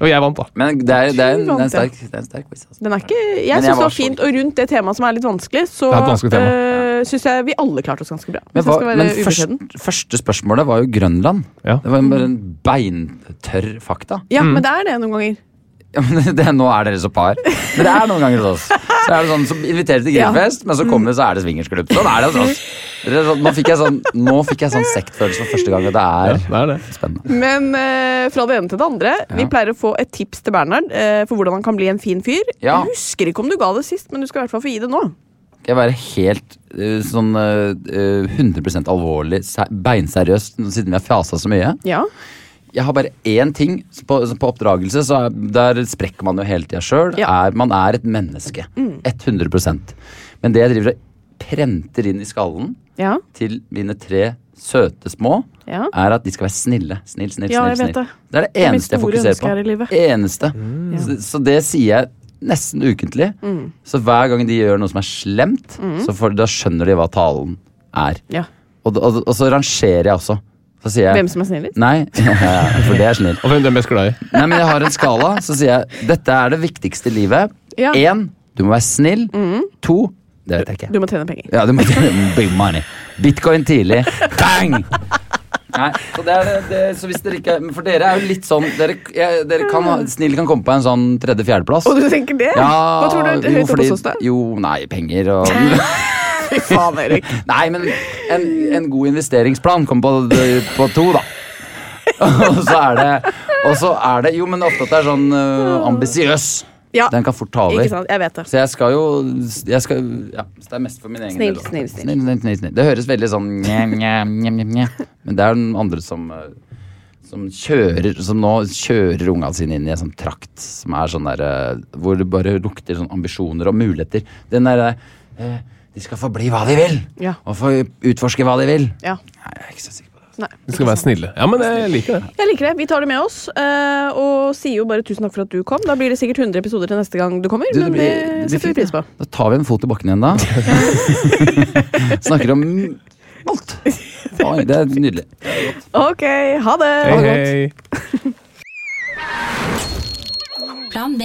Speaker 1: Og jeg vant, da.
Speaker 4: Men det er, det er, en,
Speaker 2: Du
Speaker 4: det er,
Speaker 2: vant,
Speaker 4: en, sterk, det er en sterk quiz. Altså.
Speaker 2: Den er ikke,
Speaker 4: jeg
Speaker 2: jeg syns det
Speaker 4: var sånn-
Speaker 2: var
Speaker 4: så
Speaker 2: fint, og rundt det temaet som er litt vanskelig, så
Speaker 1: Det er et vanskelig tema.
Speaker 2: eh, syns jeg vi alle klarte oss ganske bra.
Speaker 4: Men,
Speaker 2: Hvis jeg
Speaker 4: hva,
Speaker 2: skal være
Speaker 4: men
Speaker 2: ubeskjeden.
Speaker 4: først, første spørsmålet var jo Grønland.
Speaker 1: Ja.
Speaker 4: Det var bare en beintørr fakta.
Speaker 2: Ja, men det er det noen ganger.
Speaker 4: Ja, men det, nå er dere så par. Men det er noen ganger hos oss. Så er det sånn, så inviterer til
Speaker 2: Ja. Mm.
Speaker 4: grillfest, men så kommer så er det swingersklubb. Sånn er det hos oss. Dere er sånn- Nå fikk jeg sånn, nå fikk jeg sånn sektfølelse for første gang, og det
Speaker 1: Ja,
Speaker 4: er
Speaker 1: det er det.
Speaker 4: spennende.
Speaker 2: Men eh, fra det ene til det andre. Vi pleier å få et tips til Bernhard eh, for hvordan han kan bli en fin fyr.
Speaker 4: Ja.
Speaker 2: Jeg husker ikke om du ga det sist, men du skal i hvert fall få gi det nå.
Speaker 4: Skal jeg være helt eh, sånn eh, eh, 100 alvorlig, se- beinseriøs, siden vi har fjasa så mye?
Speaker 2: Ja.
Speaker 4: jeg har bare én ting. Så På, så på oppdragelse så er, der sprekker man jo hele tida sjøl.
Speaker 2: Ja. Mm.
Speaker 4: Man er et menneske. 100 Men det jeg driver og prenter inn i skallen
Speaker 2: Ja.
Speaker 4: til mine tre søte små,
Speaker 2: Ja.
Speaker 4: er at de skal være snille. Snill, snill,
Speaker 2: Ja, jeg
Speaker 4: snill.
Speaker 2: vet
Speaker 4: snill.
Speaker 2: det.
Speaker 4: Det er det
Speaker 2: er mitt
Speaker 4: eneste jeg
Speaker 2: store
Speaker 4: fokuserer
Speaker 2: ønske her i
Speaker 4: på.
Speaker 2: livet.
Speaker 4: Eneste. Så, så det sier jeg nesten ukentlig.
Speaker 2: Mm.
Speaker 4: Så hver gang de gjør noe som er slemt, så får, da skjønner de hva talen er.
Speaker 2: ja.
Speaker 4: Og, og, og så rangerer jeg også. Så sier jeg
Speaker 2: Hvem som er snillest?
Speaker 4: Nei, (laughs) for det er snill.
Speaker 1: Og hvem du er mest glad i?
Speaker 4: Nei, men jeg har en skala, så sier jeg dette er det viktigste i livet.
Speaker 2: Ja. Mm.
Speaker 4: Én, du må være snill. To, det vet jeg ikke.
Speaker 2: Du må tjene penger.
Speaker 4: Ja, du må Big money. Bitcoin tidlig. Bang! Nei, så det er det, det så hvis dere ikke For dere er jo litt sånn Dere, jeg, dere kan ha Snill kan komme på en sånn tredje-fjerdeplass.
Speaker 2: Og du tenker det?
Speaker 4: Ja,
Speaker 2: Hva tror du er
Speaker 4: jo,
Speaker 2: høyt oppe
Speaker 4: fordi-
Speaker 2: hos oss, da?
Speaker 7: (laughs)
Speaker 4: Jo, nei, penger og
Speaker 2: Fy faen,
Speaker 4: (laughs)
Speaker 2: Erik.
Speaker 4: Nei, men en, en god investeringsplan kom på, på to, da. og så er det Og så er det Jo, men ofte at det er sånn uh, ambisiøs.
Speaker 2: Ja.
Speaker 4: Den kan fort ta over.
Speaker 2: Ikke sant? Jeg vet det.
Speaker 4: Så jeg skal jo jeg skal, ja, så Det er mest for min egen
Speaker 2: Snill,
Speaker 4: del. da.
Speaker 2: snill, snill.
Speaker 4: snill, snill, snill. Det høres veldig sånn nje, nje, nje, nje, nje. Men det er den andre som uh, som kjører Som nå kjører unga sine inn i en sånn trakt som er sånn der eh, Hvor det bare lukter sånn ambisjoner og muligheter. Den derre eh, De skal få bli hva de vil!
Speaker 7: Ja.
Speaker 4: Og få utforske hva de vil.
Speaker 7: Ja.
Speaker 4: Nei, jeg er ikke så sikker på det.
Speaker 7: Nei.
Speaker 8: Vi skal være snille. Ja, men jeg liker det.
Speaker 7: Jeg liker det. Vi tar det med oss. eh, og sier jo bare tusen takk for at du kom. Da blir det sikkert 100 episoder til neste gang du kommer.
Speaker 4: Du, det
Speaker 7: men
Speaker 4: blir- det blir
Speaker 7: det setter vi
Speaker 4: fint,
Speaker 7: pris på.
Speaker 4: Da tar vi en fot i
Speaker 7: (laughs)
Speaker 4: bakken igjen, da. Snakker om alt. Oi, det er nydelig.
Speaker 7: Ok, ha det!
Speaker 8: Hei, hei.
Speaker 9: Plan B.